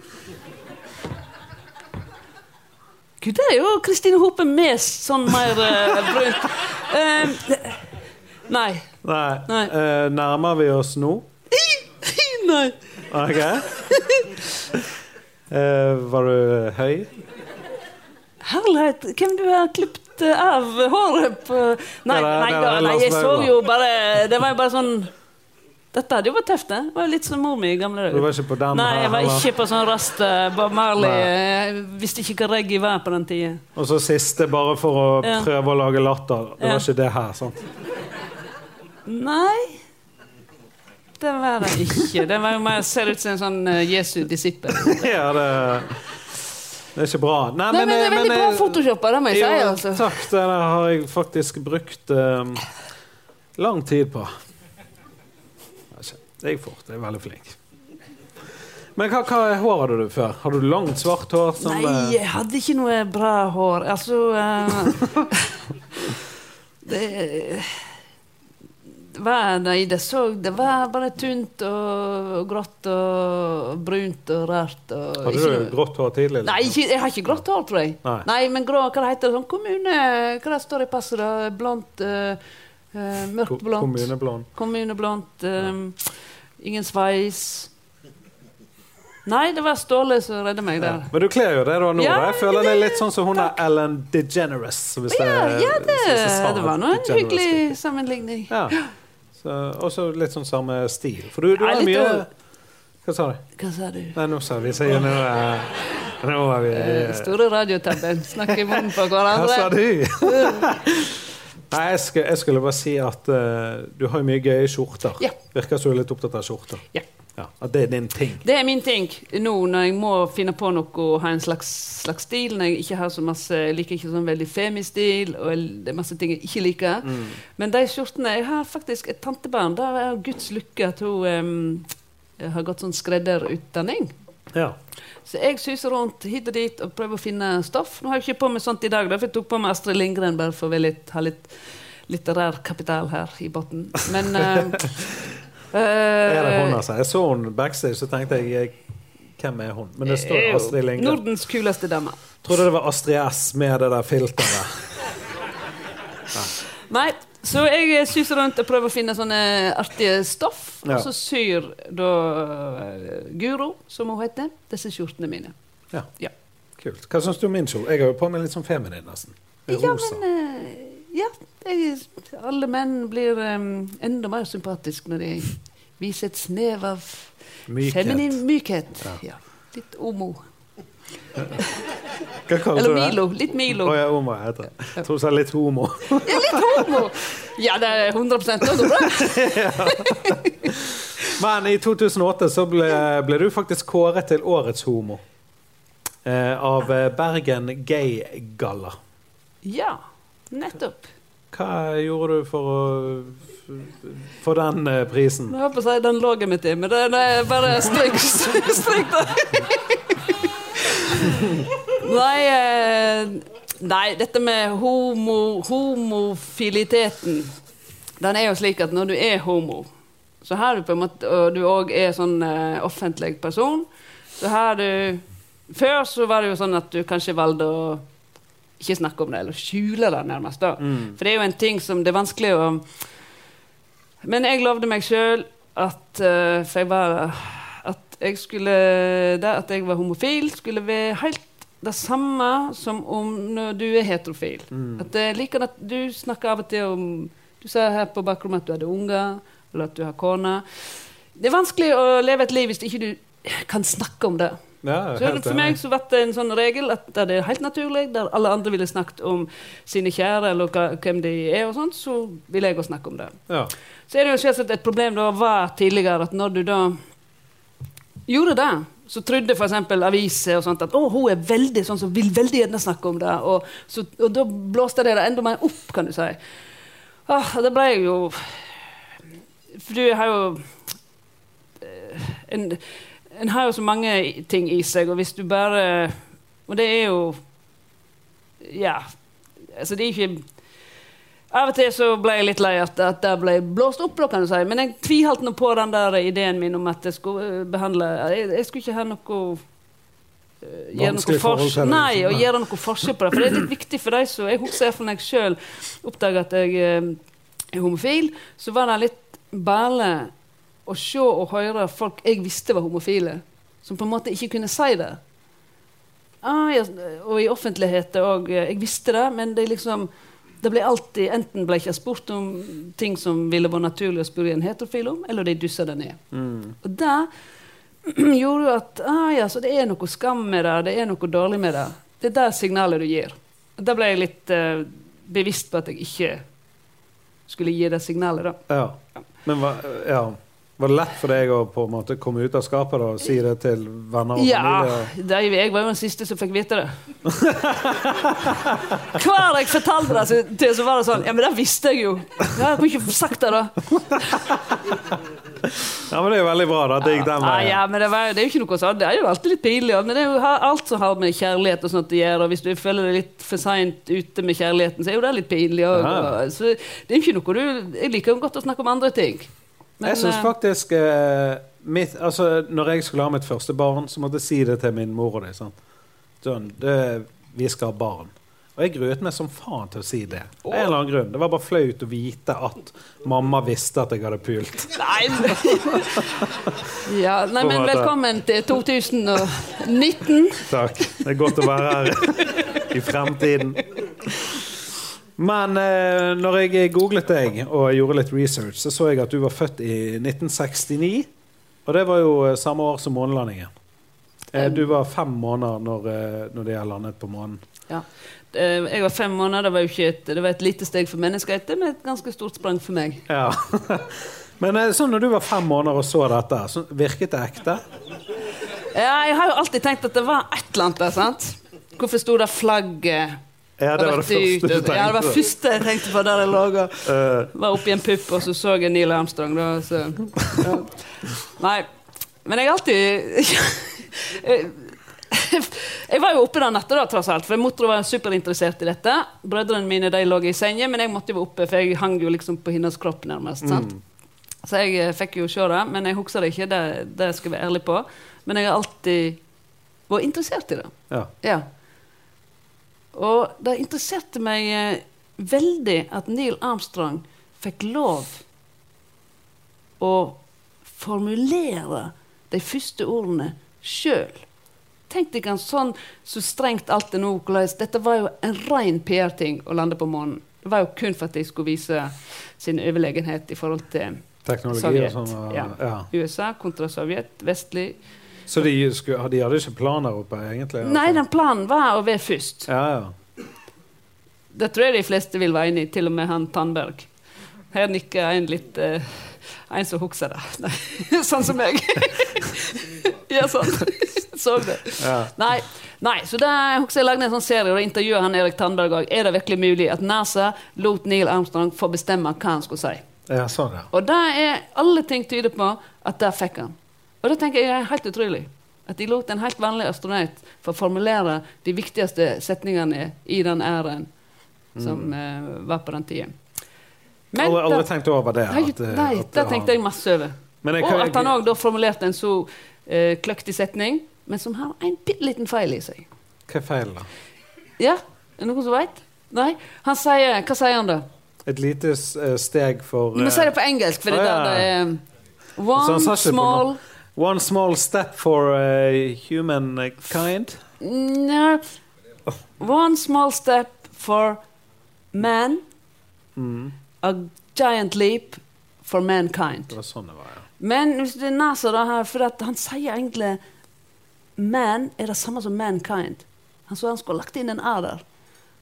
B: Gud, det er jo Kristine Hope med sånn mer eh, brunt Eh, Nei.
A: Nei.
B: Nei.
A: Eh, nærmer vi oss nå?
B: Nei.
A: Ok. Eh, var du høy?
B: Herlighet, hvem du har klippet eh, av håret på
A: Det
B: Nei,
A: er-
B: nei,
A: det er
B: da, nei, jeg
A: Lars
B: så
A: Vaular.
B: jo bare Det var jo bare sånn Dette hadde jo vært tøft, det. Det var jo litt som mor mi i gamle
A: Du var
B: dager.
A: ikke på den
B: Nei,
A: her?
B: jeg var
A: eller?
B: ikke på sånn rast eh, Bob Marley. eh, Jeg visste ikke hva reggae var på den tida.
A: Og så siste, bare for å
B: Ja.
A: prøve å lage latter. Det
B: Ja.
A: var ikke det her, sant?
B: Nei. Det var det ikke. Det var jo mer ser ut som en sånn eh, Jesu disippel.
A: ja, det, eh, det er ikke bra. Nei,
B: Nei, men det er veldig bra
A: eh,
B: photoshoppa, det må jeg
A: jo,
B: si. altså.
A: Takk, det der har jeg faktisk brukt eh, lang tid på. Altså, Det gikk fort. Jeg er veldig flink. Men hva, hva hår hadde du før? Hadde du langt, svart hår? Som,
B: Nei,
A: eh,
B: jeg hadde ikke noe bra hår. Altså eh, Det hva er det i det så Det var bare tynt og, og grått og brunt og rart. Og
A: hadde
B: ikke
A: du
B: noe-
A: grått hår tidlig? eller?
B: Nei, ikke, jeg har ikke grått hår, tror jeg.
A: Nei.
B: men grå, hva det heter det? Sånn kommune... Hva det står i passet? da? Blondt eh, eh,
A: Ko-
B: Mørkt blondt.
A: Kommuneblond.
B: Kommuneblondt. Um, ingen sveis. Nei, det var Ståle som redda meg der.
A: Men du kler jo det du har nå.
B: Ja,
A: da. jeg føler det er litt sånn som hun er
B: takk.
A: Ellen DeGeneres. Hvis
B: Ja,
A: jeg-
B: ja det,
A: hvis jeg sa
B: det var nå en
A: DeGeneres.
B: hyggelig sammenligning.
A: Ja. Så, også litt sånn samme stil. For du, du
B: Ja,
A: er
B: litt
A: mye
B: over-
A: Hva sa du?
B: Hva sa du?
A: Nei, nå sa vi sier nå er- Nå er
B: Eh,
A: vi
B: Store radiotabben. Snakke i munnen på
A: Hva sa
B: hverandre.
A: du? Nei, jeg skulle, jeg skulle bare si at eh, du har jo mye gøye skjorter.
B: Ja.
A: Virker som du er litt opptatt av skjorter.
B: Ja.
A: Ja, At det er din ting.
B: Det er min ting nå når jeg må finne på noe og ha en slags, slags stil. Når jeg ikke har så masse, jeg liker ikke sånn veldig femistil, og jeg- det er masse ting jeg ikke liker.
A: Mm.
B: Men de skjortene Jeg har faktisk et tantebarn. Det er Guds lykke at hun em, har gått sånn skredderutdanning.
A: Ja.
B: Så jeg suser rundt hit og dit og prøver å finne stoff. Nå har jeg ikke på meg sånt i dag, da, for jeg tok på meg Astrid Lindgren bare for å være litt, ha litt litterær kapital her i bunnen. Men eh, eh,
A: Er det hun, altså? Jeg så hun backstage, så tenkte jeg Hvem er hun? Men det står
B: er jo
A: Astrid Lindgren.
B: Nordens kuleste dame.
A: Trodde det var Astrid S med det der filteret.
B: Nei, så jeg suser rundt og prøver å finne sånne artige stoff.
A: Ja.
B: Og så syr da eh, Guro, som hun heter, disse skjortene mine.
A: Ja.
B: Ja.
A: Kult. Hva syns du om min kjole? Jeg har jo på meg litt sånn feminin, nesten.
B: Ja, men eh, ja, jeg, alle menn blir em, enda mer sympatiske når de viser et snev av
A: Mykhet.
B: feminin mykhet. Ja. Litt Omo.
A: Hva kaller
B: Eller
A: du det?
B: Milo. Litt Milo.
A: Å ja, homo heter det. Jeg tror du sa litt homo.
B: Ja, litt homo! Ja, det er 100 også bra.
A: Men i 2008 så ble, ble du faktisk kåret til årets homo. Eh, av eh, Bergen Gay Galla.
B: Ja, nettopp.
A: Hva gjorde du for å få den eh, prisen?
B: Mm. Jeg holdt på å si den lå jeg mitt i, men det det er bare stryk, stryk det. Nei, eh, nei, dette med homo, homofiliteten Den er jo slik at når du er homo, så har du på en måte, og du òg er sånn eh, offentlig person, så har du Før så var det jo sånn at du kanskje valgte å ikke snakke om det, eller skjule det, nærmest. da. For det er jo en ting som det er vanskelig å men jeg lovde meg sjøl at eh, For jeg var At jeg skulle Det at jeg var homofil, skulle være helt det samme som om når du er heterofil.
A: Mm.
B: At det er like at Du snakker av og til om Du sa her på bakrommet at du hadde unger, eller at du har kone. Det er vanskelig å leve et liv hvis ikke du kan snakke om det.
A: Ja,
B: Så
A: helt
B: for
A: enig.
B: meg så ble det en sånn regel at der det er helt naturlig, der alle andre ville snakket om sine kjære eller hva- hvem de er, og sånt, så ville jeg òg snakke om det.
A: Ja.
B: Så er det jo selvsagt et problem da var tidligere at når du da gjorde det, Så trodde for eksempel aviser og sånt at å, hun er veldig sånn som vil veldig gjerne snakke om det. Og, så, og da blåste det det enda mer opp, kan du si. Åh, og det ble jeg jo For du har jo eh, en, en har jo så mange i- ting i seg, og hvis du bare Og det er jo Ja. Altså, det er ikke av og til så ble jeg litt lei at, at det ble blåst opp, da, kan du si. Men jeg tviholdt nå på den der ideen min om at jeg skulle eh, behandle Jeg, jeg skulle ikke ha noe eh, Gjøre noe
A: Vanskelig forhold til
B: forskjell
A: det,
B: Nei,
A: liksom.
B: og gjøre noe forskjell på det. For det er litt viktig for deg som Jeg husker jeg for meg sjøl oppdaga at jeg eh, er homofil, så var det litt bæle å se og høre folk jeg visste var homofile, som på en måte ikke kunne si det. Ah, ja, og i offentlighet òg. Jeg visste det, men det er liksom det ble alltid, Enten ble ikke jeg spurt om ting som ville vært naturlig å spørre en heterofil om, eller de dussa det ned.
A: Mm.
B: Og det gjorde jo at ah, ja, så det er noe skam med det, det er noe dårlig med det. Det er det signalet du gir. Og Da ble jeg litt eh, bevisst på at jeg ikke skulle gi det signalet. da.
A: Ja. Men hva, ja. var det lett for deg å på en måte komme ut av skapet da, og si det til venner og
B: Ja,
A: familie?
B: det, jeg var jo den siste som fikk vite det. Hver jeg fortalte det så- til, så var det sånn Ja, men det visste jeg jo. Ja, Jeg kunne ikke sagt det, da.
A: Ja, men Det er jo veldig bra da, at det gikk den
B: Ja,
A: veien.
B: ja, men det, var, det er jo ikke noe sånn. Det er jo alltid litt pinlig. ja, Men det er jo ha- alt som har med kjærlighet og sånt å gjøre. Og hvis du føler deg litt for seint ute med kjærligheten, så er jo det litt pinlig òg.
A: Ja.
B: Så det er jo ikke noe du Jeg liker jo godt å snakke om andre ting. Men,
A: jeg syns
B: eh,
A: faktisk eh, mitt, altså, Når jeg skulle ha mitt første barn, så måtte jeg si det til min mor og de. Sant? Sånn, det, vi skal ha barn. Og jeg gruet meg som faen til å si det. Av en eller annen grunn. Det var bare flaut å vite at mamma visste at jeg hadde pult.
B: Nei, men, ja, nei, men velkommen til 2019.
A: Takk. Det er godt å være her i fremtiden. Men eh, når jeg googlet deg og gjorde litt research, så så jeg at du var født i 1969. Og det var jo eh, samme år som månelandingen. Eh, du var fem måneder når, eh, når de har landet på månen.
B: Ja. Eh, Jeg var fem måneder, det var jo ikke et, det var et lite steg for menneskeheten, men et ganske stort sprang for meg.
A: Ja. Men eh, sånn når du var fem måneder og så dette, så virket det ekte?
B: Ja, jeg har jo alltid tenkt at det var et eller annet der, sant? Hvorfor sto det flagget?
A: Ja, det var det
B: rett
A: første du
B: ut? Ja, det var det
A: tenkte.
B: første jeg tenkte på der jeg lå og
A: Eh,
B: var oppi en pupp, og så så jeg Neil Armstrong, da, så ja. Nei. Men jeg har alltid Jeg var jo oppe den natta, da, tross alt, for mor var superinteressert i dette. Brødrene mine de lå i sengen, men jeg måtte jo være oppe, for jeg hang jo liksom på hennes kropp, nærmest. sant? Så jeg eh, fikk jo se det, men jeg husker det ikke. Det, det skal jeg være ærlig på. Men jeg har alltid vært interessert i det.
A: ja.
B: Ja. Og det interesserte meg eh, veldig at Neil Armstrong fikk lov å formulere de første ordene sjøl. Tenk deg han sånn så strengt alt er nå. hvordan- Dette var jo en ren PR-ting å lande på månen. Det var jo kun for at de skulle vise sin overlegenhet i forhold til
A: Teknologi
B: Sovjet.
A: og sånn. og-
B: Ja.
A: Ja.
B: USA kontra Sovjet, vestlig
A: Så de, skulle, de hadde ikke planer oppe, egentlig? altså?
B: Nei, den planen var å være først.
A: Ja, ja.
B: Det tror jeg de fleste vil være enig i, til og med han Tandberg. Her nikker en litt eh, En som husker det. Nei, sånn som meg. ja, sånn. Så det.
A: ja.
B: Nei, nei, så det, jeg husker jeg lagde en sånn serie og da intervjuet han Erik Tandberg òg. Er det virkelig mulig at NASA lot Neil Armstrong få bestemme hva han skulle si?
A: Ja, sånn, ja.
B: Og det er alle ting tyder på at der fikk han. Og det tenker jeg er helt utrolig. At de lot en helt vanlig astronaut få formulere de viktigste setningene i den æren som
A: Mm.
B: eh, var på den tiden. Men
A: Aldri, aldri
B: da-
A: tenkt over det.
B: Nei,
A: at, eh,
B: nei,
A: at
B: det
A: han-
B: tenkte jeg masse over.
A: Men jeg kan-
B: Og at han òg da formulerte en så eh, kløktig setning, men som har en bitte liten feil i seg.
A: Hva er feilen, da?
B: Ja, er det noen som veit? Nei? Han sier Hva sier han da?
A: Et lite s- eh, steg for
B: Vi
A: eh,
B: sier det på engelsk, for det
A: Å,
B: er
A: ja.
B: der det er eh,
A: Så han sa
B: One
A: ikke på
B: small
A: noe. eh, One small step for eh, humankind.
B: No. One small step for man,
A: Mm.
B: a giant leap for mankind.
A: Det var sånn det var, ja.
B: Men hvis det er NASA da her, for at han sier egentlig man er det samme som mankind. Han så han skulle ha lagt inn en A der.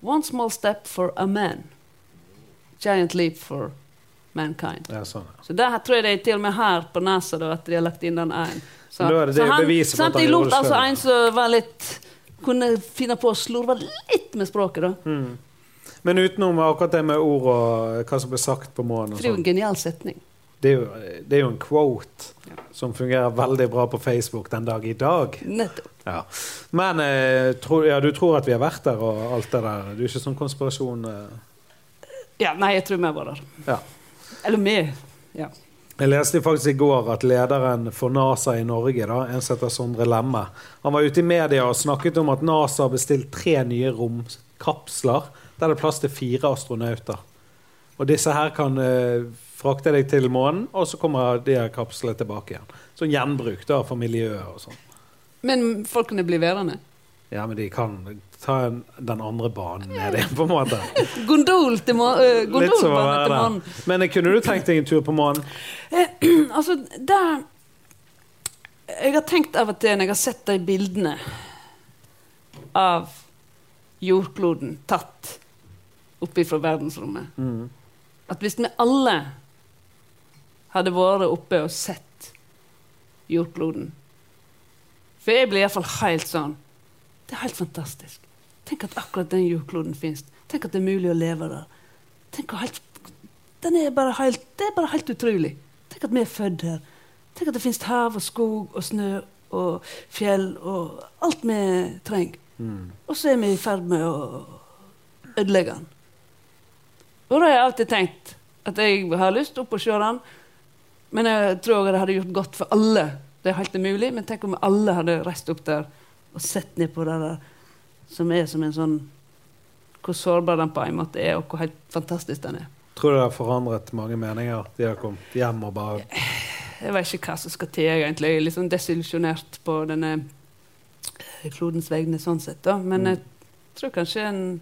B: One small step for a man. Giant leap for mankind.
A: Ja, sånn. ja.
B: Så der har- tror jeg det er til og med her på NASA da, at de har lagt inn den en. Så,
A: Men da er det det
B: så han,
A: beviset på
B: så
A: at han
B: de
A: gjorde
B: lot
A: det
B: altså
A: selv.
B: en som var litt kunne finne på å slurve litt med språket, da.
A: Mm. Men utenom akkurat det med ord og eh, hva som ble sagt på månen og
B: For det er jo en
A: sånn.
B: genial setning.
A: Det, er jo- eh, det er jo en quote
B: Ja.
A: som fungerer veldig bra på Facebook den dag i dag.
B: Nettopp.
A: Ja. Men eh, tror- ja, du tror at vi har vært der og alt det der. Du er ikke sånn konspirasjon... Eh.
B: Ja, nei, jeg tror vi var der.
A: Ja.
B: Eller vi. Ja.
A: Jeg leste faktisk i går at lederen for NASA i Norge, da, en som heter Sondre Lemme, han var ute i media og snakket om at NASA har bestilt tre nye romkapsler der det er plass til fire astronauter. Og disse her kan eh, frakte deg til månen, og så kommer de her kapslene tilbake igjen. Sånn gjenbruk da, for miljøet og sånn.
B: Men folkene blir værende.
A: Ja, men de kan ta en, den andre banen ned igjen, på en måte.
B: Gondol til må-
A: Litt som å
B: øh, gondolbane til
A: være
B: månen.
A: der. Men eh, kunne du tenkt deg en tur på månen?
B: Altså, der Jeg har tenkt av og til når jeg har sett de bildene av jordkloden tatt oppe fra verdensrommet
A: Mm.
B: At hvis vi alle hadde vært oppe og sett jordkloden For jeg blir iallfall helt sånn Det er helt fantastisk. Tenk at akkurat den jordkloden fins. Tenk at det er mulig å leve der. Tenk hvor helt, den er bare helt, det er bare helt utrolig. Tenk at vi er født her. Tenk at det fins hav og skog og snø og fjell og alt vi trenger. Og så er vi i ferd med å ødelegge den. Og da har jeg alltid tenkt at jeg har lyst opp og se den, men jeg tror også det hadde gjort godt for alle. Det er helt umulig, men tenk om alle hadde reist opp der og sett ned på det der som er som en sånn Hvor sårbar den på en måte er, og hvor helt fantastisk den er.
A: Tror du det har forandret mange meninger? De har kommet hjem og bare
B: Jeg vet ikke hva som skal til, egentlig. Jeg er litt sånn desillusjonert på denne klodens vegne sånn sett, da. Men
A: Mm.
B: jeg tror kanskje en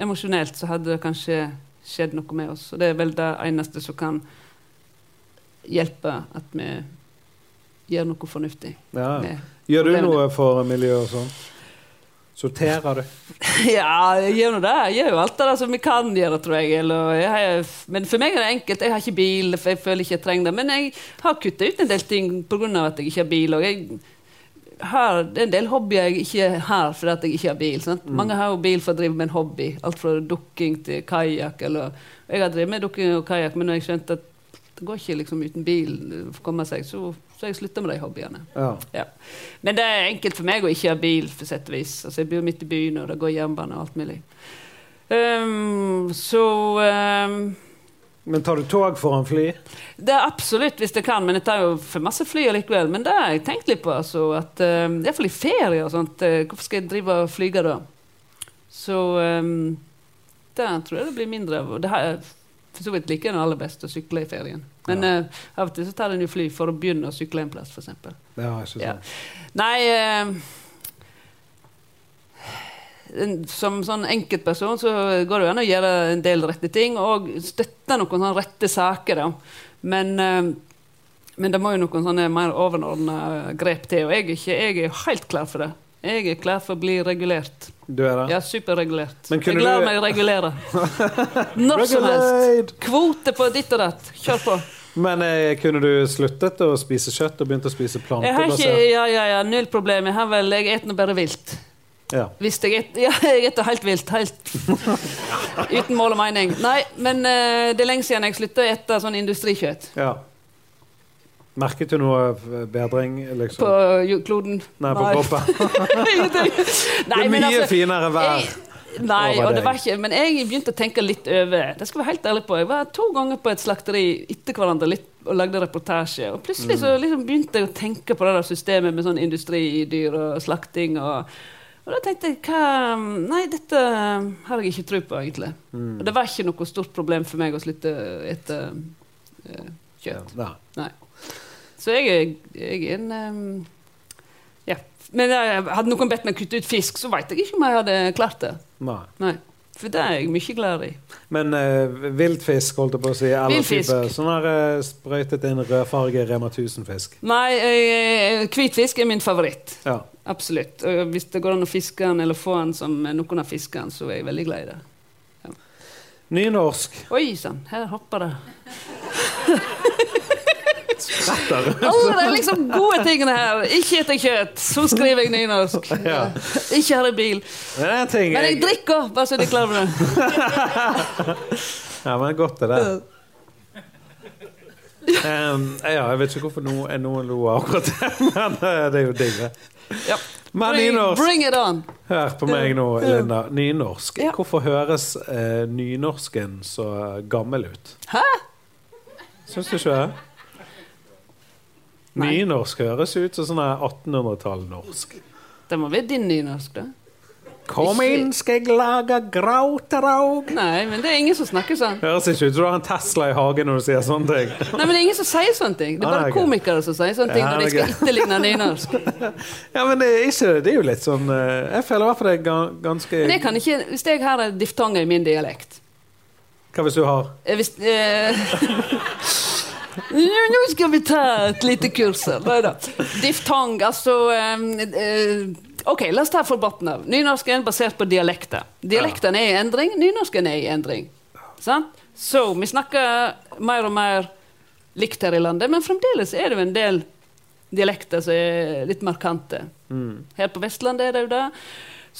B: Emosjonelt så hadde det kanskje skjedd noe med oss, og det er vel det eneste som kan hjelpe at vi gjør noe fornuftig.
A: ja.
B: med-
A: Gjør du
B: Levende.
A: noe for miljøet og sånn? Sorterer du?
B: Ja, jeg gjør nå det. Jeg gjør jo alt det der som vi kan gjøre, tror jeg. Eller, jeg har, men for meg er det enkelt. Jeg har ikke bil, for jeg føler ikke jeg trenger det. Men jeg har kutta ut en del ting pga. at jeg ikke har bil. Og jeg har det er en del hobbyer jeg ikke har fordi at jeg ikke har bil. Sant? Mange har jo bil for å drive med en hobby. Alt fra dukking til kajakk. eller- og Jeg har drevet med dukking og kajakk, men når jeg skjønte at det går ikke liksom uten bil eh, for å komme seg, så så har jeg slutta med de hobbyene.
A: Ja.
B: Ja. Men det er enkelt for meg å ikke ha bil, for sett og vis. Altså, jeg bor midt i byen, og det går jernbane og alt mulig. Ehm, så ehm,
A: Men tar du tog foran fly?
B: Det er absolutt hvis jeg kan, men jeg tar jo for masse fly likevel. Men det har jeg tenkt litt på. Altså, at, ehm, I hvert fall i ferie og sånt. eh, hvorfor skal jeg drive og flyge da? Så ehm, det tror jeg det blir mindre av. Og Det har jeg for så vidt liker den aller best å sykle i ferien. Men
A: Ja.
B: eh, av og til så tar en jo fly for å begynne å sykle en plass, f.eks.
A: Ja, ikke
B: Ja.
A: sant.
B: Nei eh, en- Som sånn enkeltperson så går det jo an å gjøre en del rette ting, og støtte noen sånne rette saker, da. Men, eh, men det må jo noen sånne mer overordna grep til, og jeg er, ikke, jeg er jo helt klar for det. Jeg er klar for å bli regulert.
A: Du er det?
B: Ja, superregulert.
A: Men kunne
B: Jeg lar
A: du-
B: meg regulere. Når som
A: Regulate!
B: helst. Kvote på ditt og datt. Kjør på.
A: Men eh, kunne du sluttet å spise kjøtt og begynt å spise
B: Jeg har ikke
A: plantebasert?
B: Ja, ja, ja, null problem. Jeg har vel Jeg spiser nå bare vilt.
A: Ja.
B: Hvis jeg et, ja, jeg etter helt vilt. Helt uten mål og mening. Nei, men eh, det er lenge siden jeg slutta å ete sånn industrikjøtt.
A: ja. Merket du noe eh, bedring, liksom?
B: På jo- kloden.
A: Nei, på kroppen?
B: Ingenting.
A: Det
B: Nei,
A: er
B: men
A: mye
B: altså
A: finere vær.
B: jeg, Nei,
A: over
B: og det
A: deg.
B: var ikke Men jeg begynte å tenke litt over. Det skal jeg være helt ærlig på. Jeg var to ganger på et slakteri etter hverandre litt, og lagde reportasje. Og plutselig så
A: Mm.
B: liksom begynte jeg å tenke på det der systemet med sånn industridyr og slakting og og da tenkte jeg hva Nei, dette har jeg ikke tro på, egentlig.
A: Mm.
B: Og det var ikke noe stort problem for meg å slutte å ete eh, kjøtt.
A: Ja.
B: Nei. Så jeg, er- jeg er en ehm, Ja. Men jeg, hadde noen bedt meg kutte ut fisk, så veit jeg ikke om jeg hadde klart det.
A: Nei.
B: Nei. For det er jeg mye glad i.
A: Men eh, villfisk, holdt jeg på å si. Eller
B: Villfisk.
A: type sånn her eh, sprøytet inn rødfarge Rema 1000-fisk.
B: Nei, eh, hvitfisk er min favoritt.
A: Ja.
B: Absolutt. Og hvis det går an å fiske den, eller få den som noen har fisket den, så er jeg veldig glad i det.
A: Nynorsk.
B: Oi sann, her hopper det.
A: Retter.
B: Alle de liksom gode tingene her. Ikke etter kjøtt, så skriver jeg nynorsk.
A: Ja.
B: Ikke har jeg bil.
A: Men det er en ting
B: Men jeg
A: jeg,
B: drikker, bare så de er klar over det.
A: Ja, men det er godt, det der. Em, ja, jeg vet ikke hvorfor no, eh, noen lo av akkurat det, men eh, det er jo digg, det.
B: Ja.
A: Men
B: Bring,
A: nynorsk.
B: bring it on.
A: Hør på meg nå, Linda. Nynorsk.
B: Ja.
A: Hvorfor høres eh, nynorsken så gammel ut?
B: Hæ?
A: Syns du ikke det?
B: Nei.
A: Nynorsk høres ut som sånn 1800-tall-norsk.
B: Det må være din nynorsk, da.
A: Kom
B: Ikke-
A: inn, skal jeg lage grauteraug.
B: Nei, men det er ingen som snakker sånn.
A: Høres ikke ut som du har en Tesla i hagen når du sier sånne ting.
B: Nei, men det er ingen som sier sånne ting. Det er
A: Ah, nei,
B: bare
A: ok.
B: komikere som sier sånne ting
A: Ja,
B: når
A: det
B: de
A: er
B: skal etterligne nynorsk.
A: Ja, men det er, ikke, det er jo litt sånn eh, Jeg føler i hvert fall det er ga- ganske
B: Men jeg kan ikke, Hvis jeg har en diftong i min dialekt
A: Hva hvis du har
B: Eh, Hvis eh, Nå nå skal vi ta et lite kurs her. Nei da. Diftong, altså eh, eh, Ok, la oss ta fra bunnen av. Nynorsken er basert på dialekter. Dialektene er i endring, nynorsken er i endring. Sant? Så vi snakker mer og mer likt her i landet, men fremdeles er det jo en del dialekter som er litt markante. Her på Vestlandet er det jo det.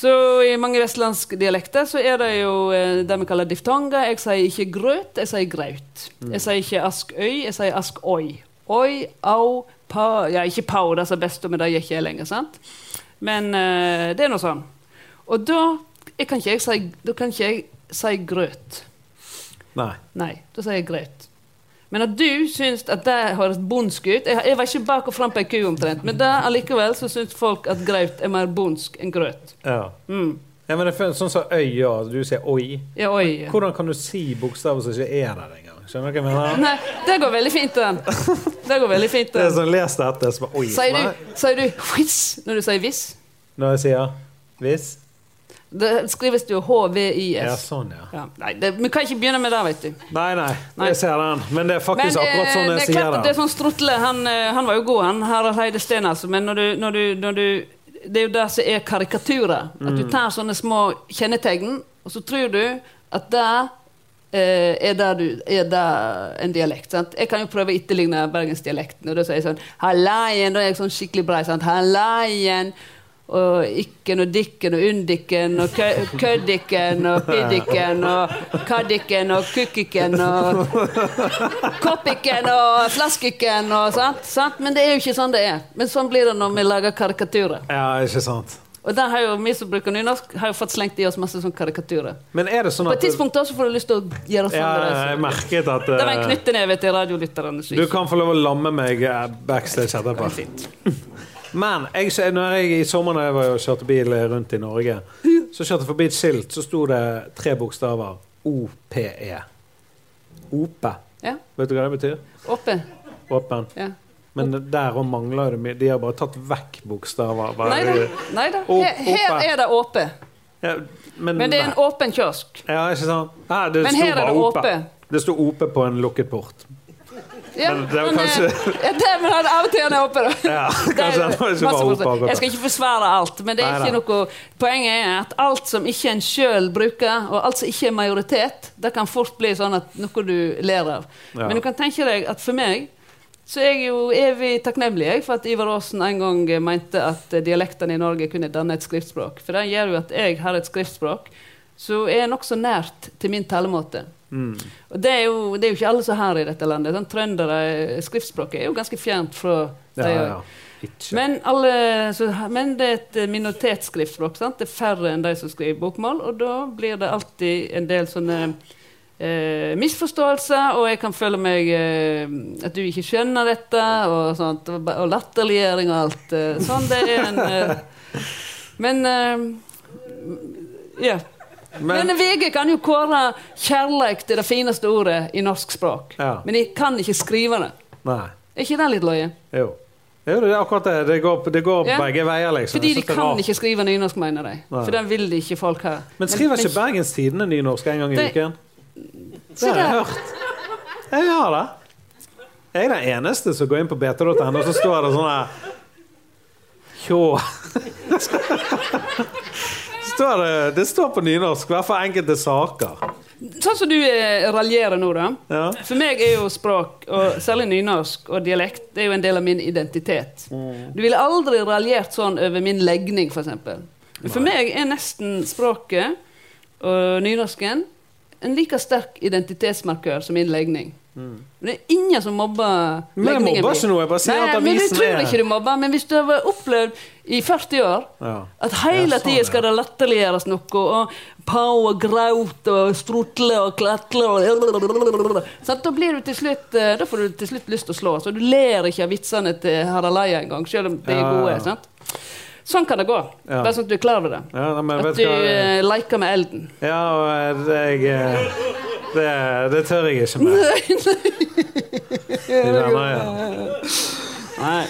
B: Så i mange vestlandske dialekter så er det jo eh, det vi kaller diftonger. Jeg sier ikke grøt, jeg sier graut. Jeg sier ikke askøy, jeg sier askøy. Oi, au, pa Ja, ikke pau, det som er best, men det gjør ikke jeg lenger, sant? Men eh, det er nå sånn. Og da, jeg kan ikke jeg si, da kan ikke jeg si grøt.
A: Nei.
B: Nei, da sier jeg grøt. Men at du syns at det høres bondsk ut Jeg, jeg var ikke bak og fram på ei ku omtrent, men det allikevel så syns folk at graut er mer bondsk enn grøt.
A: Ja.
B: Mm.
A: ja men det er sånn som øya. Du sier oi.
B: Ja, oi. ja.
A: Hvordan kan du si bokstaver som ikke er der engang? Skjønner du hva jeg mener?
B: Nei, det går veldig fint, den. Det går veldig fint,
A: Det er
B: den.
A: sånn, Les dette, så bare oi.
B: Sier
A: Nei.
B: du, sier du whiz når du sier viss?
A: Når jeg sier hvis?
B: Det skrives det jo
A: Ja,
B: HVIS.
A: sånn, ja.
B: Ja, nei, det, vi kan ikke begynne med det, vet du.
A: Nei, nei,
B: Nei.
A: jeg ser den. Men det er
B: Men
A: faktisk
B: eh,
A: akkurat sånn
B: det
A: jeg
B: er klart
A: sier
B: at det er
A: den.
B: sånn Strutle han, eh, han var jo god, han Harald Heide Steen, altså. Men når du, når du, når du Det er jo det som er karikaturer. At
A: Mm.
B: du tar sånne små kjennetegn, og så tror du at det eh, er det, du, er det en dialekt. Sant? Jeg kan jo prøve å etterligne bergensdialekten, og da sier jeg sånn Hallaien, da er jeg sånn skikkelig brei. Sant? Hallaien. Og ikken og dikken og undikken og kø- køddikken og piddikken og kaddikken og kukkikken og Koppiken og flaskiken og sant, sant? Men det er jo ikke sånn det er. Men sånn blir det når vi lager karikaturer.
A: Ja, ikke sant.
B: Og der har jo vi som bruker nynorsk, har jo fått slengt i oss masse sånn karikaturer.
A: Men er det sånn
B: På
A: at
B: et tidspunkt da så får du lyst til å gjøre sånn.
A: Ja,
B: med deg, så.
A: jeg merket at
B: det var en
A: eh,
B: knytteneve til radiolytterne. som
A: Du
B: ikke-
A: kan få lov å lamme meg eh, backstage etterpå. Men jeg, så- når jeg i sommer når jeg var og kjørte bil rundt i Norge, så kjørte jeg forbi et skilt, så sto det tre bokstaver. E. OPE. OPE.
B: Ja,
A: E. Vet du hva det betyr?
B: oppe.
A: Åpen.
B: Ja.
A: Men
B: E.
A: der òg mangler det mye. De har bare tatt vekk bokstaver. Bare,
B: Nei da. Nei da.
A: Opp-
B: Her, her
A: oppe.
B: er det åpe.
A: Ja, men,
B: Men det er en åpen kiosk.
A: Ja, ikke sant? Nei, det
B: Men
A: sto
B: her er
A: bare
B: det E.
A: OPE.
B: åpe.
A: Det sto OPE på en lukket port.
B: Ja,
A: Men det er jo
B: eh,
A: kanskje-
B: ja, det, men han av og til han er oppe, da.
A: Ja,
B: Det er-
A: kanskje han var ikke
B: masse
A: bare
B: forskjell.
A: oppe
B: Jeg
A: akkurat.
B: skal ikke forsvare alt, men det er
A: Nei,
B: ikke noe Poenget er at alt som ikke en sjøl bruker, og alt som ikke er majoritet, det kan fort bli sånn at noe du ler av.
A: Ja.
B: Men du kan tenke deg at for meg så er jeg jo evig takknemlig jeg, for at Ivar Aasen en gang eh, mente at eh, dialektene i Norge kunne danne et skriftspråk. For det gjør jo at jeg har et skriftspråk som er nokså nært til min talemåte.
A: Mm.
B: Og det er, jo, det er jo ikke alle som har i dette landet. Sånn, trøndere, Skriftspråket er jo ganske fjernt fra
A: Ja,
B: de-
A: ja, ja. Ikke.
B: Men, alle, så, men det er et minoritetsskriftspråk. Sant? Det er færre enn de som skriver bokmål, og da blir det alltid en del sånne eh, misforståelser, og jeg kan føle meg eh, at du ikke skjønner dette, og, sånt, og, ba- og latterliggjøring og alt. Eh, sånn, det er en eh, Men eh, Ja. Men, VG kan jo kåre 'kjærleik' til det fineste ordet i norsk språk.
A: Ja.
B: Men de kan ikke skrive det.
A: Nei.
B: Er ikke det litt løye?
A: Jo. jo. Det er akkurat det. Det går, det går
B: Ja.
A: begge veier, liksom.
B: Fordi
A: Jeg
B: de
A: synes det er
B: kan
A: rart.
B: ikke skrive nynorsk, mener de.
A: Nei.
B: For den vil de ikke folk ha.
A: Men skriver ikke Bergens Tidende nynorsk en gang i
B: Det-
A: uken? Det
B: Se
A: har jeg
B: der.
A: hørt. Jeg har det. Jeg er den eneste som går inn på bt.no, og så står det sånn her Tjå. Står det, det står på nynorsk, i hvert fall enkelte saker.
B: Sånn som du eh, raljerer nå, da.
A: Ja.
B: For meg er jo språk, og særlig nynorsk og dialekt, det er jo en del av min identitet.
A: Mm.
B: Du ville aldri raljert sånn over min legning, f.eks. For, for meg er nesten språket og nynorsken en like sterk identitetsmarkør som min legning. Men det er ingen som mobber
A: Mm. Men jeg
B: legningen
A: mobber
B: min.
A: ikke noe, jeg bare sier
B: Nei,
A: at
B: men jeg
A: avisen
B: tror
A: er-
B: ikke du mobber, men hvis du har opplevd i 40 år
A: Ja.
B: at hele
A: Ja, sånn,
B: tida skal det latterliggjøres noe, og pau og graut og strutle og klatre og Sant? Da blir du til slutt eh, Da får du til slutt lyst til å slå, så du ler ikke av vitsene til Haraleia engang, selv om de er
A: Ja, ja,
B: gode.
A: ja.
B: Sant? Sånn kan det gå.
A: Ja.
B: Bare sånn at du er klar over det.
A: Ja, nei, men
B: At
A: vet
B: du
A: du hva
B: eh, leker med elden.
A: Ja, og jeg eh, det, det tør jeg ikke med. I denne, ja.
B: Nei.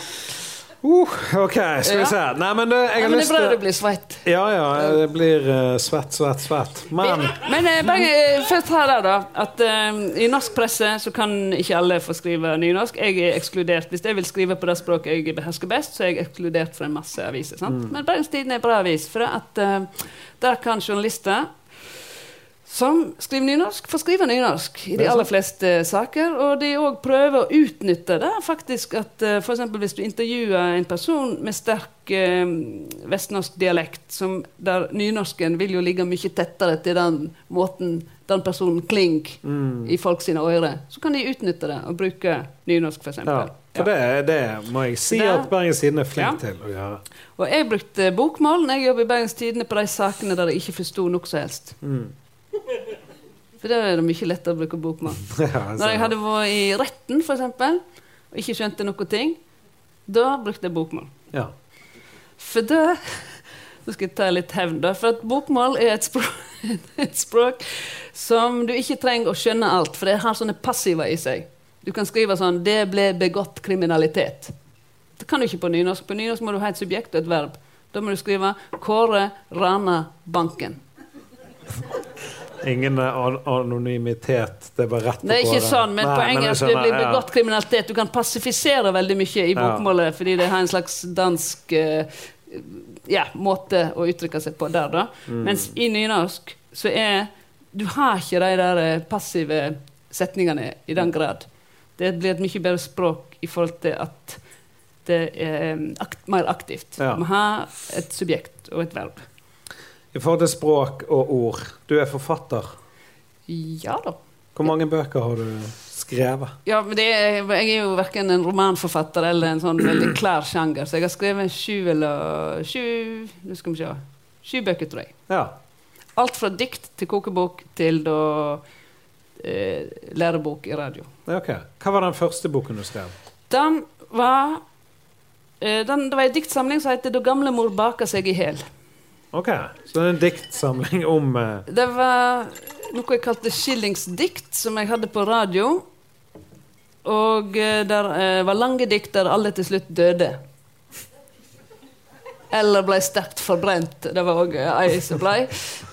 A: Uh, OK, skal vi
B: Ja.
A: se. Nei, men du, jeg
B: Nei,
A: har
B: men det er
A: lyst
B: bra du
A: til
B: blir svett.
A: Ja, ja, det blir eh, svett, svett, svett. Men
B: Men eh, bare eh, først her der, da. At eh, i norsk presse så kan ikke alle få skrive nynorsk. Jeg er ekskludert. Hvis jeg vil skrive på det språket jeg behersker best, så er jeg ekskludert fra en masse aviser. Sant? Men Bergens Tidende er en bra avis, for at eh, der kan journalister som skriver nynorsk, får skrive nynorsk i de aller fleste saker. Og de òg prøver å utnytte det. faktisk at eh, for eksempel Hvis du intervjuer en person med sterk eh, vestnorsk dialekt, som der nynorsken vil jo ligge mye tettere til den måten den personen kling
A: Mm.
B: i folk sine ører, så kan de utnytte det og bruke nynorsk, f.eks.
A: ja, for det, det må jeg si
B: Det-
A: at Bergens Tidende er flink
B: Ja.
A: til å gjøre.
B: Og jeg brukte bokmål når jeg jobbet i Bergens Tidende på de sakene der jeg ikke forsto noe som helst.
A: Mm.
B: For da er det mye lettere å bruke bokmål.
A: Ja,
B: Når
A: altså.
B: jeg hadde vært i retten, for eksempel, og ikke skjønte noe ting, da brukte jeg bokmål.
A: ja.
B: For da Nå skal jeg ta litt hevn, da. For at bokmål er et språk, et språk som du ikke trenger å skjønne alt, for det har sånne passiver i seg. Du kan skrive sånn 'Det ble begått kriminalitet'. Det kan du ikke på nynorsk. På nynorsk må du ha et subjekt og et verb. Da må du skrive 'Kåre rana banken'.
A: Ingen an anonymitet. Det er bare rett på
B: Det er ikke
A: gården.
B: sånn, men
A: Nei,
B: på
A: jeg
B: engelsk det
A: skjønner,
B: blir
A: ja.
B: begått kriminalitet. Du kan passifisere veldig mye i bokmålet fordi det har en slags dansk eh, ja, måte å uttrykke seg på der, da.
A: Mm.
B: Mens i nynorsk så er Du har ikke de der eh, passive setningene i den grad. Det blir et mye bedre språk i forhold til at det er eh, akt, mer aktivt.
A: Ja.
B: Du må ha et subjekt og et verb.
A: I forhold til språk og ord. Du er forfatter.
B: Ja da.
A: Hvor mange bøker har du skrevet?
B: Ja, men det er, Jeg er jo verken en romanforfatter eller en sånn veldig klar sjanger, så jeg har skrevet sju eller sju Nå skal vi se. Sju bøker, tror jeg.
A: Ja.
B: Alt fra dikt til kokebok til da eh, lærebok i radio.
A: det er ok. Hva var den første boken du skrev?
B: Den var eh, den, Det var ei diktsamling som heter 'Da gamlemor baka seg i hæl'.
A: Ok, Så det er en diktsamling om eh,
B: Det var noe jeg kalte skillingsdikt, som jeg hadde på radio. Og eh, der eh, var lange dikt der alle til slutt døde. Eller ble sterkt forbrent. Det var òg ei som ble.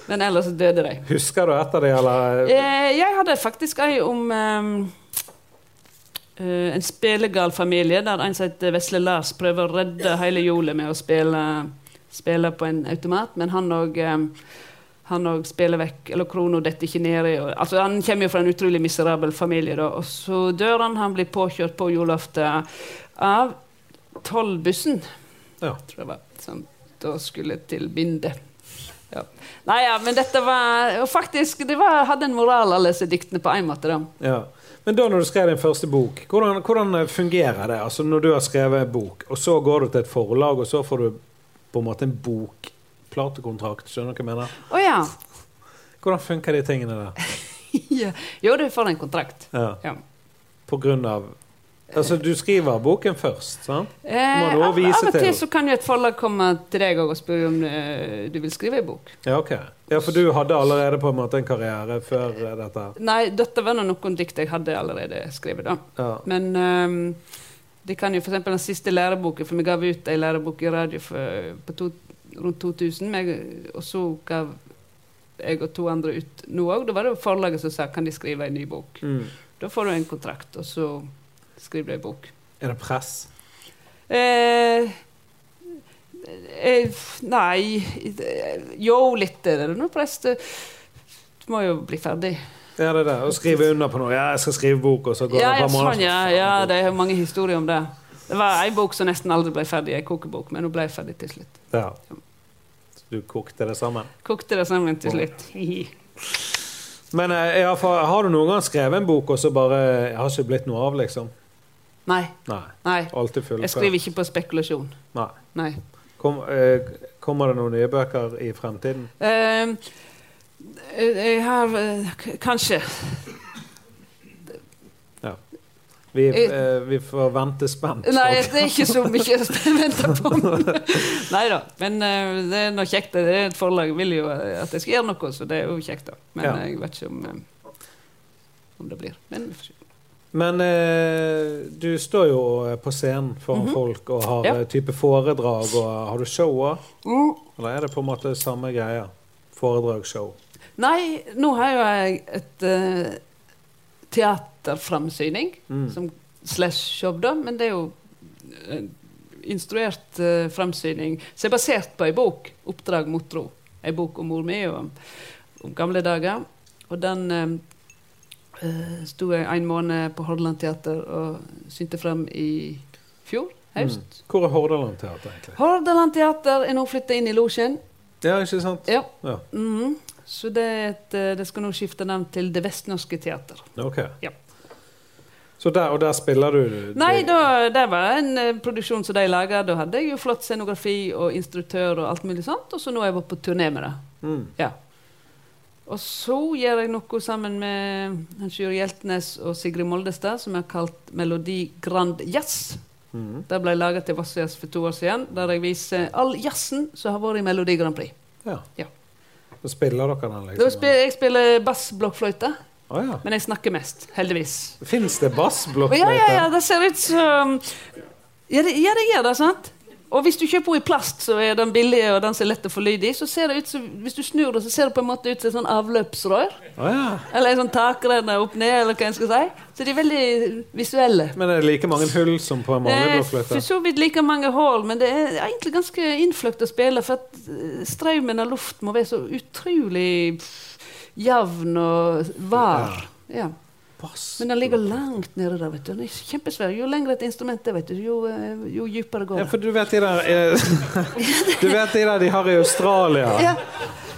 B: Men ellers døde de.
A: Husker du etter det, eller?
B: Eh, jeg hadde faktisk ei om eh, eh, en spillegal familie der en som heter Vesle Lars prøver å redde hele hjulet med å spille, spille på en automat, men han òg han òg spiller vekk Eller krona detter ikke nedi. og- Altså, han kommer jo fra en utrolig miserabel familie, da. Og så dør han. Han blir påkjørt på julaften av tollbussen
A: Ja.
B: tror jeg var, som da skulle til Binde. Ja. Nei ja, men dette var Og faktisk, det var, hadde en moral, alle disse diktene, på en måte. da.
A: ja. Men da når du skrev din første bok, hvordan, hvordan eh, fungerer det? Altså Når du har skrevet en bok, og så går du til et forlag, og så får du på en måte en bokplatekontrakt. Skjønner du hva jeg mener?
B: Å ja.
A: Hvordan funker de tingene der?
B: ja. Jo, du får en kontrakt.
A: Ja.
B: Ja.
A: På grunn av Altså, du skriver boken først, sant?
B: Eh,
A: Må du også
B: av,
A: vise
B: av og til
A: til.
B: så kan jo et forlag komme til deg og spørre om eh, du vil skrive en bok.
A: Ja, ok. Ja, for du hadde allerede på en måte en karriere før eh, dette?
B: Nei, dette var nå noen dikt jeg hadde allerede skrevet. da.
A: Ja.
B: Men ehm, det kan jo for eksempel den siste læreboken, for vi gav ut en lærebok i radio for, på to, rundt 2000, men jeg, og så gav jeg og to andre ut nå òg. Da var det jo forlaget som sa kan de skrive en ny bok.
A: Mm.
B: Da får du en kontrakt, og så skriver du en bok.
A: Er det press?
B: Eh, eh, nei eh, Jo, litt er det nå, prest. Må jo bli ferdig.
A: Ja, det er det. Og skrive under på noe. Ja, jeg skal skrive bok, og så går
B: Ja,
A: det et
B: ja,
A: par
B: sånn,
A: måneder.
B: ja, ja, det er mange historier om det. Det var ei bok som nesten aldri ble ferdig, ei kokebok, men hun ble ferdig til slutt.
A: Ja. Så du kokte det sammen.
B: Kokte det sammen til slutt.
A: Men eh, ja, for, har du noen gang skrevet en bok, og så bare Jeg har ikke blitt noe av, liksom?
B: Nei,
A: Nei.
B: nei.
A: Alltid full
B: Jeg skriver ikke på spekulasjon.
A: Nei.
B: Nei.
A: Kom, eh, kommer det noen nye bøker i fremtiden?
B: Eh, jeg har eh, k- Kanskje.
A: Vi,
B: Jeg-
A: eh, vi får vente spent.
B: Nei, det er ikke så mye jeg venter på. Nei da. Men eh, det er noe kjekt. Det er et forlag vil jo eh, at jeg skal gjøre noe, så det er jo kjekt, da. Men
A: Ja.
B: eh, jeg vet ikke om, eh, om det blir. Men vi får se.
A: Men eh, du står jo eh, på scenen foran folk og har
B: Mhm. Ja.
A: eh, type foredrag, og eh, har du show òg?
B: Mm.
A: Eller er det på en måte samme greia? Foredragsshow.
B: Nei, nå har jo jeg et uh, teaterframsyning,
A: Mm.
B: som slash jobb, da, men det er jo eh, instruert uh, framsyning som er basert på ei bok, 'Oppdrag mot tro'. Ei bok om mor mi og om, om gamle dager. Og den eh, eh, sto jeg en måned på Hordaland Teater og synte frem i fjor høst.
A: Hvor er Hordaland Teater, egentlig?
B: Hordaland Teater er nå flytta inn i losjen.
A: Ja, ikke sant?
B: Ja.
A: Ja,
B: Mhm. Så det, er et, eh, det skal nå skifte navn til Det Vestnorske Teater.
A: ok.
B: Ja.
A: Så der, og der spiller du?
B: Nei,
A: du-
B: da, det var en eh, produksjon som de laga. Da hadde jeg jo flott scenografi og instruktør og alt mulig sånt, og så nå har jeg vært på turné med det.
A: Mm.
B: Ja. Og så gjør jeg noe sammen med Hans Juri Hjeltnes og Sigrid Moldestad som er kalt Melodi Grand Jazz.
A: Mm.
B: Det ble laga til Vassjazz for to år siden, der jeg viser all jazzen som har vært i Melodi Grand Prix.
A: Ja.
B: Ja.
A: Da spiller dere den, liksom?
B: Da spiller, jeg spiller bassblokkfløyte,
A: Å ja.
B: men jeg snakker mest, heldigvis.
A: Fins det bassblokkfløyte?
B: Ja, ja, ja, det ser ut som Ja, det, ja, det gjør det, sant? Og hvis du kjøper henne i plast, så er den billig, og den som er lett å få lyd i, så ser det ut som Hvis du snur det, så ser det på en måte ut som et sånn avløpsrør.
A: Å ja.
B: Eller en sånn takrenne opp ned, eller hva en skal si. Så de er veldig visuelle.
A: Men er det like mange hull som på en
B: Det
A: vanlig
B: er
A: blokkfløyte?
B: for så vidt like mange hull, men det er egentlig ganske innfløkt å spille, for at eh, strømmen av luft må være så utrolig pff, jevn og var. Ja.
A: Bass.
B: Men den ligger langt nede der, vet du. Den er kjempesvær. Jo lengre et instrument er, vet du, jo, eh, jo dypere går
A: Ja,
B: det.
A: for du vet de der eh, Du vet de der de har i Australia?
B: Ja,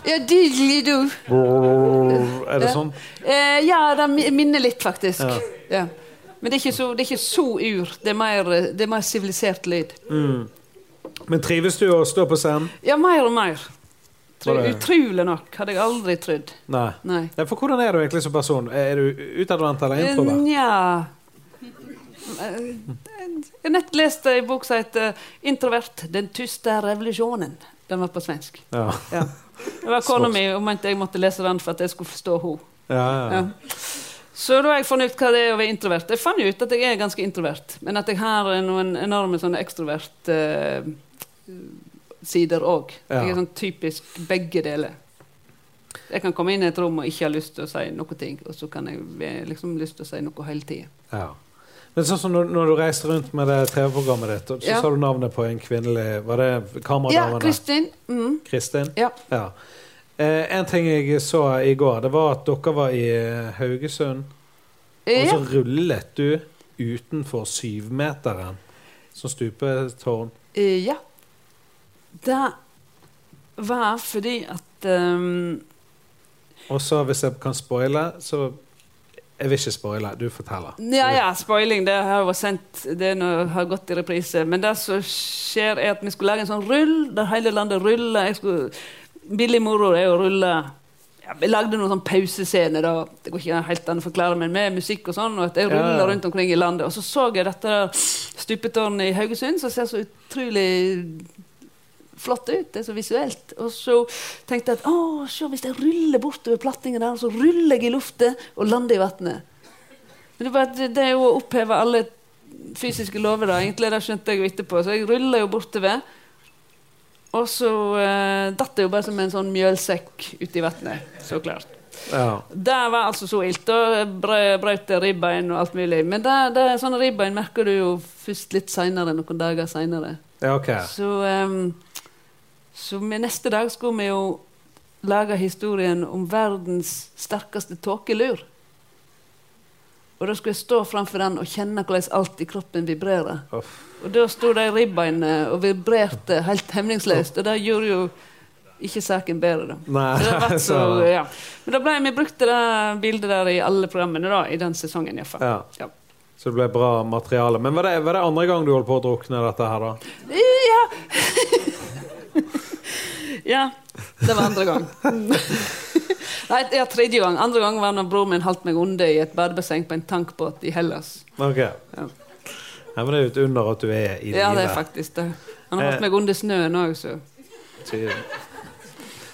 B: ja diddly-do.
A: Brrr, Er det
B: Ja.
A: sånn?
B: Eh, ja, den mi- minner litt, faktisk.
A: Ja.
B: Ja. Men det er, ikke så, det er ikke så ur. Det er mer, eh, det er mer sivilisert lyd.
A: Men trives du å stå på scenen?
B: Ja, mer og mer. Tro,
A: Var det-
B: utrolig nok. Hadde jeg aldri trodd.
A: Nei.
B: Nei.
A: Ja, for hvordan er du egentlig som person? Er du utadvendt eller introvert?
B: Eh, Nja Eh, Jeg har nett lest ei bok som heter 'Introvert. Den tyste revolusjonen'. Den var på svensk.
A: Ja.
B: Ja. Det var kona mi og mente jeg måtte lese den for at jeg skulle forstå henne.
A: Ja, ja.
B: Ja. Så da har jeg funnet ut hva det er å være introvert. Jeg fant jo ut at jeg er ganske introvert, men at jeg har eh, noen enorme sånne ekstrovert eh, sider òg.
A: Ja.
B: Jeg er sånn typisk begge deler. Jeg kan komme inn i et rom og ikke ha lyst til å si noe, ting, og så kan jeg være- liksom lyst til å si noe hele tida.
A: ja. Men sånn som når, når du reiste rundt med det TV-programmet ditt, og så
B: Ja.
A: sa du navnet på en kvinnelig Var det
B: Ja,
A: kameradamene?
B: Kristin. Mm,
A: Kristin?
B: ja.
A: Ja. Eh, en ting jeg så i går, det var at dere var i eh, Haugesund. Og
B: ja.
A: så rullet du utenfor syvmeteren som stupetårn.
B: Eh, Ja. Det var fordi at ehm,
A: Og så, hvis jeg kan spoile, så Jeg vil ikke spoile, du forteller.
B: Ja, ja, spoiling. Det har vært sendt Det er noe, har gått i reprise. Men det som skjer, er at vi skulle lage en sånn rull der hele landet ruller. Jeg skulle, billig moro er å rulle ja, Vi lagde noen sånn pausescene, da. Det går ikke helt an å forklare, men med musikk og sånn. Og at jeg
A: Ja, ja.
B: ruller rundt omkring i landet. Og så så jeg dette der stupetårnet i Haugesund, som ser så utrolig flott ut. Det er så visuelt. Og så tenkte jeg at å, se, hvis jeg ruller bortover plattingen der, så ruller jeg i lufta og lander i vannet. Men det, er bare, at det er jo å oppheve alle fysiske lover, da. Egentlig det skjønte jeg jo etterpå. Så jeg ruller jo bortover. Og så eh, datt det jo bare som en sånn mjølsekk uti vannet. Så klart.
A: Ja.
B: Det var altså så ilt. Da brø- brøt jeg ribbein og alt mulig. Men det, det, sånne ribbein merker du jo først litt seinere, noen dager seinere.
A: ja, ok.
B: Så, ehm, så med neste dag skulle vi jo laga historien om verdens sterkeste tåkelur. Og da skulle jeg stå framfor den og kjenne hvordan alt i kroppen vibrerer.
A: Uff.
B: Og da sto de ribbeinene og vibrerte helt hemningsløst, og det gjorde jo ikke saken bedre, da.
A: Nei.
B: Så det har vært så,
A: så-
B: ja. Men da ble vi brukt til det bildet der i alle programmene da, i den sesongen. i hvert fall.
A: Ja.
B: Ja.
A: Så det ble bra materiale. Men var det, var det andre gang du holdt på å drukne dette her, da?
B: Ja. ja. Det var andre gang. Nei, ja, tredje gang. Andre gang var når broren min holdt meg onde i et badebasseng på en tankbåt i Hellas.
A: Ok.
B: Ja.
A: Nei, men det er jo et under at du er i live.
B: Ja, det Eh, er faktisk det. Han har holdt meg onde i snøen òg, så.
A: Ty-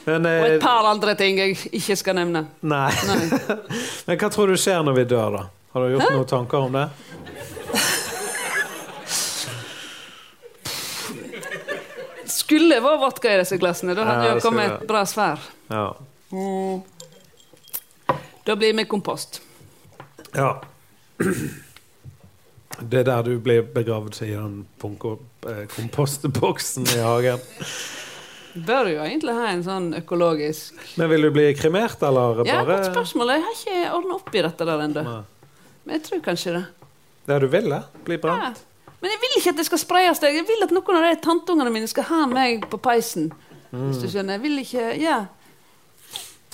A: Men,
B: Og et
A: eh,
B: par andre ting jeg ikke skal nevne.
A: nei.
B: Nei.
A: Men hva tror du skjer når vi dør, da? Har du gjort noen tanker om det?
B: Skulle vært vodka i disse glassene. Da
A: Ja,
B: hadde det
A: det
B: kommet
A: skulle det.
B: et bra svar.
A: Ja.
B: Da blir vi kompost.
A: ja. Det er der du blir begravd i den punko- eh, kompostboksen i hagen.
B: Bør jo egentlig ha en sånn økologisk
A: Men vil du bli kremert, eller
B: Ja, godt
A: bare
B: spørsmål. Jeg har ikke ordna opp i dette der ennå.
A: Nei.
B: Men jeg tror kanskje det.
A: Det du ville? Bli
B: Ja.
A: brent?
B: Men jeg vil ikke at det skal spreies. Jeg Jeg vil at noen av de tanteungene mine skal ha meg på peisen. Hvis du skjønner. Jeg vil ikke Ja,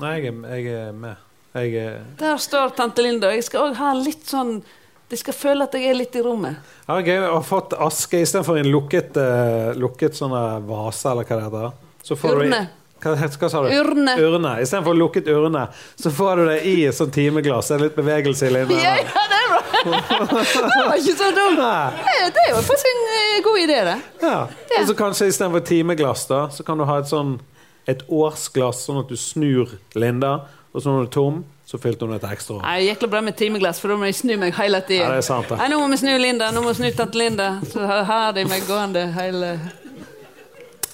A: Nei, jeg er, jeg er med. Jeg er
B: der står tante Linda. Jeg skal òg ha litt sånn De skal føle at jeg er litt i rommet.
A: Ja, gøy å ha fått aske istedenfor en lukket, eh, lukket sånn der vase, eller hva det heter. Så får du i-
B: Urne.
A: Hva, het- hva sa du?
B: Urne.
A: Urne. Istedenfor lukket urne, så får du det i et sånt timeglass. Det er litt bevegelse i
B: Ja,
A: linjene.
B: ja, det er bra! Det var ikke så dumt.
A: Nei.
B: Nei, Det er jo faktisk en eh, god idé, det.
A: Ja. Og så kanskje istedenfor timeglass, da, så kan du ha et sånn et årsglass, sånn at du snur Linda, og så når du er tom, så fylte hun et ekstra år.
B: Nei, Jækla bra med timeglass, for da må jeg snu meg hele tida.
A: Ja, det er sant, det.
B: Nei, nå må vi snu Linda, nå må vi snu tante Linda. Så har de meg gående hele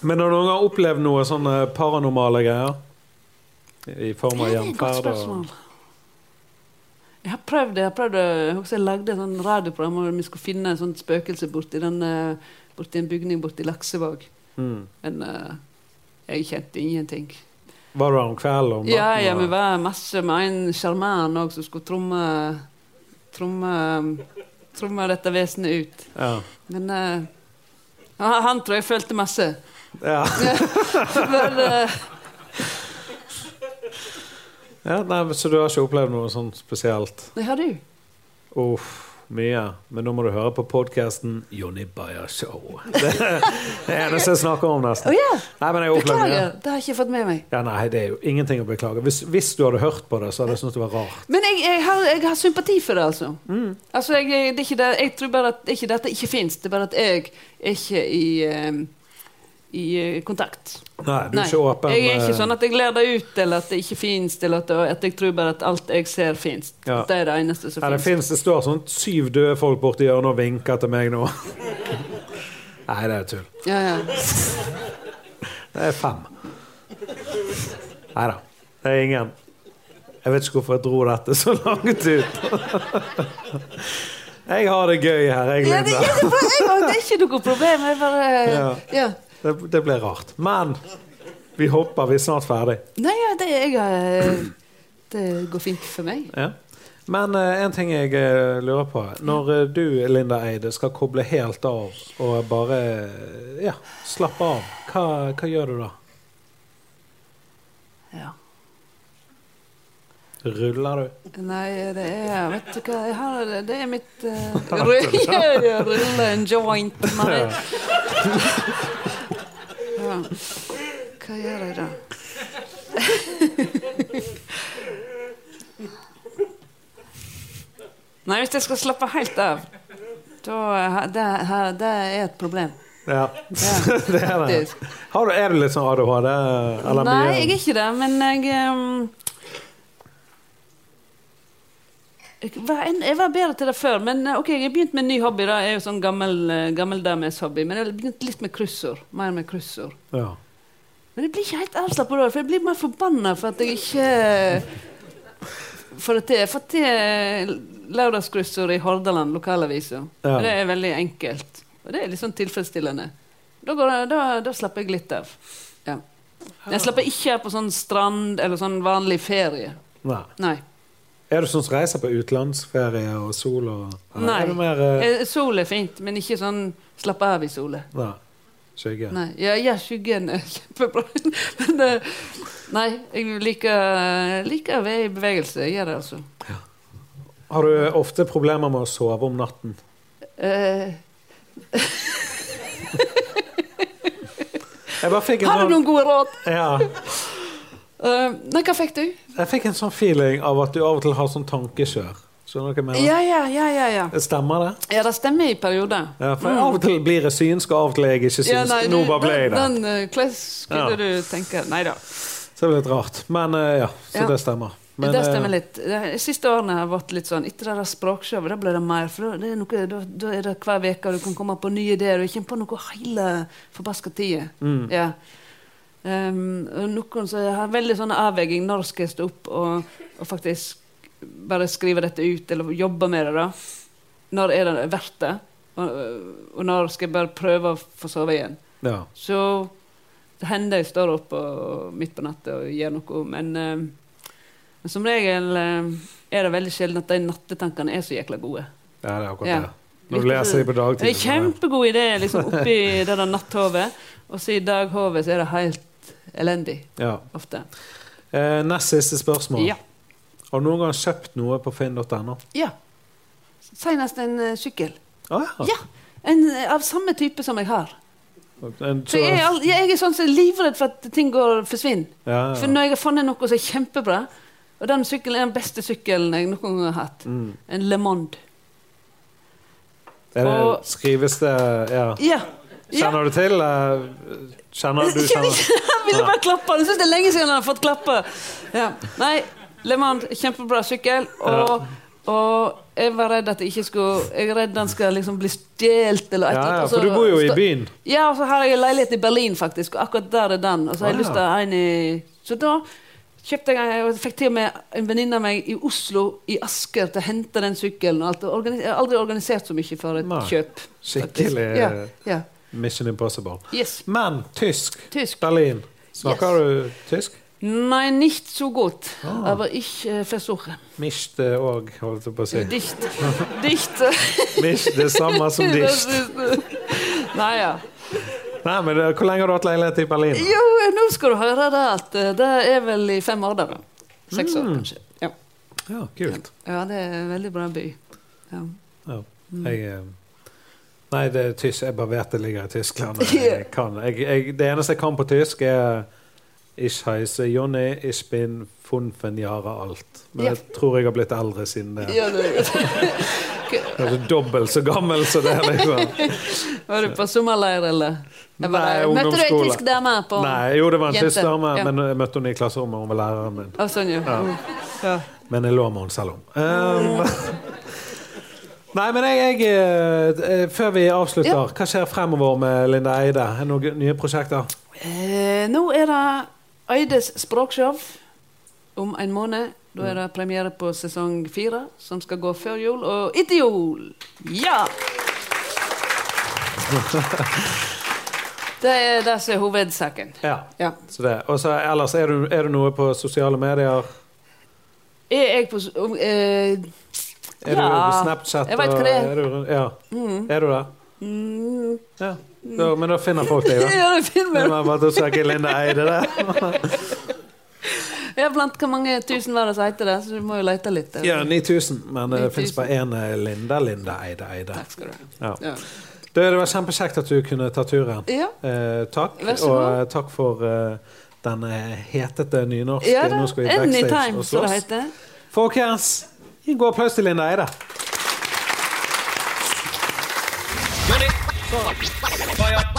A: Men har du noen gang opplevd noe sånne paranormale greier? I form av
B: Ja, det er et godt
A: hjemferd og
B: spørsmål. Jeg har prøvd det. Jeg, har prøvd det. jeg husker jeg lagde et sånt radioprogram hvor vi skulle finne et sånt spøkelse borti, den, eh, borti en bygning borti Laksevåg.
A: Mm.
B: Men eh, jeg kjente ingenting.
A: Var du der om kvelden? og om
B: Ja,
A: natten,
B: ja,
A: og-
B: vi var masse med en sjarman òg som skulle tromme Tromme Tromme dette vesenet ut.
A: ja.
B: Men eh, han, han tror jeg følte masse.
A: Ja.
B: Men, eh,
A: Ja, nei, men Så du har ikke opplevd noe sånt spesielt?
B: nei, har du?
A: Uff, mye. Men nå må du høre på podkasten Jonny Bayer Show. Det er det eneste jeg snakker om,
B: Å
A: nesten.
B: ja!
A: Nei, men jeg har opplevd mye.
B: Beklager, det har jeg ikke fått med meg.
A: Ja, nei, det er jo ingenting å beklage. Hvis, hvis du hadde hørt på det, så hadde jeg syntes det var rart.
B: Men jeg, jeg, har, jeg har sympati for det, altså. altså jeg, jeg- det er ikke det, jeg tror bare at det er ikke dette ikke fins, det er bare at jeg er ikke i, eh, i eh, kontakt.
A: Nei, du er ikke åpen.
B: jeg er ikke
A: eh,
B: sånn at jeg ler det ut, eller at det ikke fins, eller at, det- at jeg tror bare at alt jeg ser, fins.
A: Ja.
B: Det er det eneste som
A: Nei, det
B: fins.
A: finnes, det står sånn syv døde folk borti hjørnet og vinker til meg nå. Nei, det er tull.
B: Ja, ja.
A: Det er fem. Nei da. Det er ingen. Jeg vet ikke hvorfor jeg dro dette så langt ut. Jeg har det gøy her, jeg,
B: Ja, det,
A: Linda.
B: ja, det, er bra. jeg, har- det er ikke noe problem. Jeg bare
A: Ja.
B: ja.
A: Det, det ble rart. Men vi hopper. Vi er snart ferdig.
B: Nei, ja, det, jeg, eh, det går fint for meg.
A: Ja. Men eh, en ting jeg eh, lurer på. Når eh, du, Linda Eide, skal koble helt av og bare eh, ja, slappe av, hva, hva gjør du da?
B: Ja.
A: Ruller du?
B: Nei, det er Vet du hva, jeg har, det er mitt eh, ry- jeg Ruller en joint med det. Ja. Hva gjør jeg da? Nei, hvis jeg skal slappe helt av da, har- det, har- det er et problem.
A: Ja.
B: Ja,
A: det er det.
B: faktisk.
A: Har du, er du litt sånn ADHD? Eller
B: Nei,
A: mye?
B: jeg er ikke det, men jeg ehm, jeg var, en, jeg var bedre til det før, men eh, ok, jeg begynte med en ny hobby. da, Jeg er jo sånn gammel, eh, gammeldames hobby, men jeg begynte litt med kryssord. Mer med kryssord.
A: Ja.
B: Men jeg blir ikke helt avslappet da, for jeg blir mer forbanna for at jeg ikke får det til. Jeg får til lørdagskryssord i Hordaland, lokalavisa.
A: Ja.
B: Det er veldig enkelt. Og det er litt sånn tilfredsstillende. Da, går, det- da, da slapper jeg litt av. Ja. Jeg slipper ikke på sånn strand eller sånn vanlig ferie.
A: Nei.
B: Nei.
A: Er du sånn som reiser på utenlandsferie og sol og eller
B: Nei.
A: Er du mer eh,
B: Eh, Sol er fint, men ikke sånn slapp av i sola.
A: Nei. Skygge.
B: Nei. Ja, ja, skyggen er kjempebra. Men eh, nei, jeg liker, liker å være i bevegelse. Jeg gjør det, altså.
A: Har du ofte problemer med å sove om natten?
B: Eh,
A: Jeg bare fikk en
B: har du
A: sånn
B: noen gode råd?
A: ja,
B: Eh, nei, hva fikk du?
A: Jeg fikk en sånn feeling av at du av og til har sånn tankekjør. Skjønner du hva jeg mener?
B: Ja, ja, ja, ja. Ja,
A: Stemmer det?
B: ja det stemmer i perioder.
A: Ja, for Av og til blir jeg synsk, og av og til er jeg ikke synsk.
B: Mm. Ja, nei,
A: Nå
B: du-
A: bare ble jeg det.
B: Den, den eh, hva skulle
A: Ja.
B: du tenke? Nei da.
A: Så det er litt rart. Men eh, ja, så
B: Ja.
A: det stemmer. Men,
B: det stemmer
A: eh,
B: litt. De siste årene har vært litt sånn Etter det der språkshowet, da ble det mer. For da- det er noe, da, da er det hver uke, og du kan komme på nye ideer. Og ikke på noe hele forbaska tida.
A: Mm.
B: Ja. Ehm, og noen som har veldig sånn avveiing. Når skal jeg stå opp og, og faktisk bare skrive dette ut, eller jobbe med det, da? Når er det verdt det? Og, og når skal jeg bare prøve å få sove igjen?
A: Ja.
B: Så det hender jeg står opp og, midt på natta og gjør noe, men, eh, men som regel eh, er det veldig sjelden at de nattetankene er så jækla gode.
A: ja, det er akkurat
B: Ja.
A: det. Når du leser dem på
B: Det er
A: dagtid. så
B: en
A: er det-
B: kjempegod idé liksom, oppi det der natthovet, og så i daghovet så er det helt elendig
A: Ja.
B: ofte.
A: Eh, nest siste spørsmål.
B: Ja.
A: Har du noen gang kjøpt noe på finn.no?
B: ja. Senest en eh, sykkel.
A: Ah, ja.
B: Ja! En, eh, av samme type som jeg har.
A: En,
B: For jeg, er al- jeg er sånn som er livredd for at ting går forsvinner.
A: ja,
B: For
A: ja.
B: når jeg har funnet noe som er kjempebra Og den sykkelen er den beste sykkelen jeg noen gang har hatt.
A: Mm.
B: En Le Monde.
A: Er
B: og-
A: det skrives det Ja.
B: Ja. ja.
A: Kjenner du til eh, Kjenner du
B: Kjenner
A: kjenner?
B: ikke Han ville bare klappe. Jeg syns det er lenge siden han har fått klappe. Ja. Nei, Le Monde, kjempebra sykkel. Og, og jeg var redd at jeg ikke skulle Jeg er redd den skal liksom bli stjålet eller et
A: Ja,
B: eller annet,
A: ja,
B: og så-
A: for du bor jo i byen.
B: Ja, og så har jeg en leilighet i Berlin, faktisk, og akkurat der er den. Og så har
A: Ah,
B: jeg
A: ja.
B: lyst til å ha en i Så da kjøpte jeg og fikk til og med en venninne av meg i Oslo, i Asker, til å hente den sykkelen. og alt. Og organi- Jeg har aldri organisert så mye for et
A: Nei.
B: kjøp.
A: Skikkelig eh,
B: Ja, ja.
A: Mission Impossible.
B: Yes.
A: Men tysk.
B: Tysk.
A: Berlin. Snakker du tysk?
B: Nei, nicht so gut.
A: Ah.
B: Aber ich äh, versuche.
A: Mischt òg, eh, holdt jeg på å si.
B: Dicht. Dicht. eh,
A: Mischt det samme som dicht.
B: Naja.
A: Nei, men det- Hvor lenge har du hatt leilighet i Berlin?
B: Jo, eh, nå skal du høre det at eh, det er vel i fem år, da. Seks
A: Mm.
B: år, kanskje. Ja.
A: Ja, kult.
B: Ja, det er en veldig bra by. Ja.
A: Ja.
B: Mm.
A: Jeg, eh, nei, det er tysk. Jeg bare vet det ligger i Tyskland. Jeg kan. Jeg, jeg, det eneste jeg kan på tysk, er Ich heise Jonny, ich bin funfen jahre alt. Men
B: Ja.
A: jeg tror jeg har blitt eldre siden det.
B: Ja, det-
A: Kanskje dobbelt så gammel som det. liksom.
B: Var du på sommerleir, eller? Jeg var
A: Nei,
B: der. Møtte du ei
A: ungdomsskole.
B: tysk dame på
A: Nei, jo, det var en
B: Jente.
A: tysk dame,
B: Ja.
A: men jeg møtte henne i klasserommet. Hun var læreren min.
B: Å, sånn, ja. Ja.
A: Men jeg lå med henne selv om. Um, Nei, men jeg, jeg eh, eh, Før vi avslutter,
B: Ja.
A: hva skjer fremover med Linda Eide? Er det noen nye prosjekter?
B: Eh, nå er det Eides språkshow om en måned. Da er det premiere på sesong fire, som skal gå før jul og etter jul. Ja! Det er det som er hovedsaken.
A: Ja.
B: Ja.
A: Så det. Og så ellers, er du, er du noe på sosiale medier?
B: Er jeg på s- om, eh,
A: Er du på Snapchat?
B: Jeg vet
A: og-
B: hva det er.
A: du, ja. er du det?
B: Mm.
A: Ja. Da, men da finner folk deg, da.
B: Ja, det finner
A: Det
B: vi.
A: er bare til å søke Linda Eide der.
B: Ja, blant hvor mange tusen var det som heter det, så du må jo lete litt. der.
A: Ja, 9000. Men det
B: 9000.
A: fins bare én eh, Linda Linda Eide Eide.
B: Takk skal du ha.
A: Ja.
B: Ja.
A: Du, det var kjempekjekt at du kunne ta turen.
B: Ja.
A: Eh, takk.
B: Vær så
A: Og
B: god.
A: eh, takk for eh, den eh, hetete nynorske.
B: Ja da.
A: Nå skal vi backstage
B: Anytime,
A: og
B: som det
A: slåss.
B: heter.
A: Folkens, gi en god applaus til Linda Eide.
C: Jonny. Hva ja?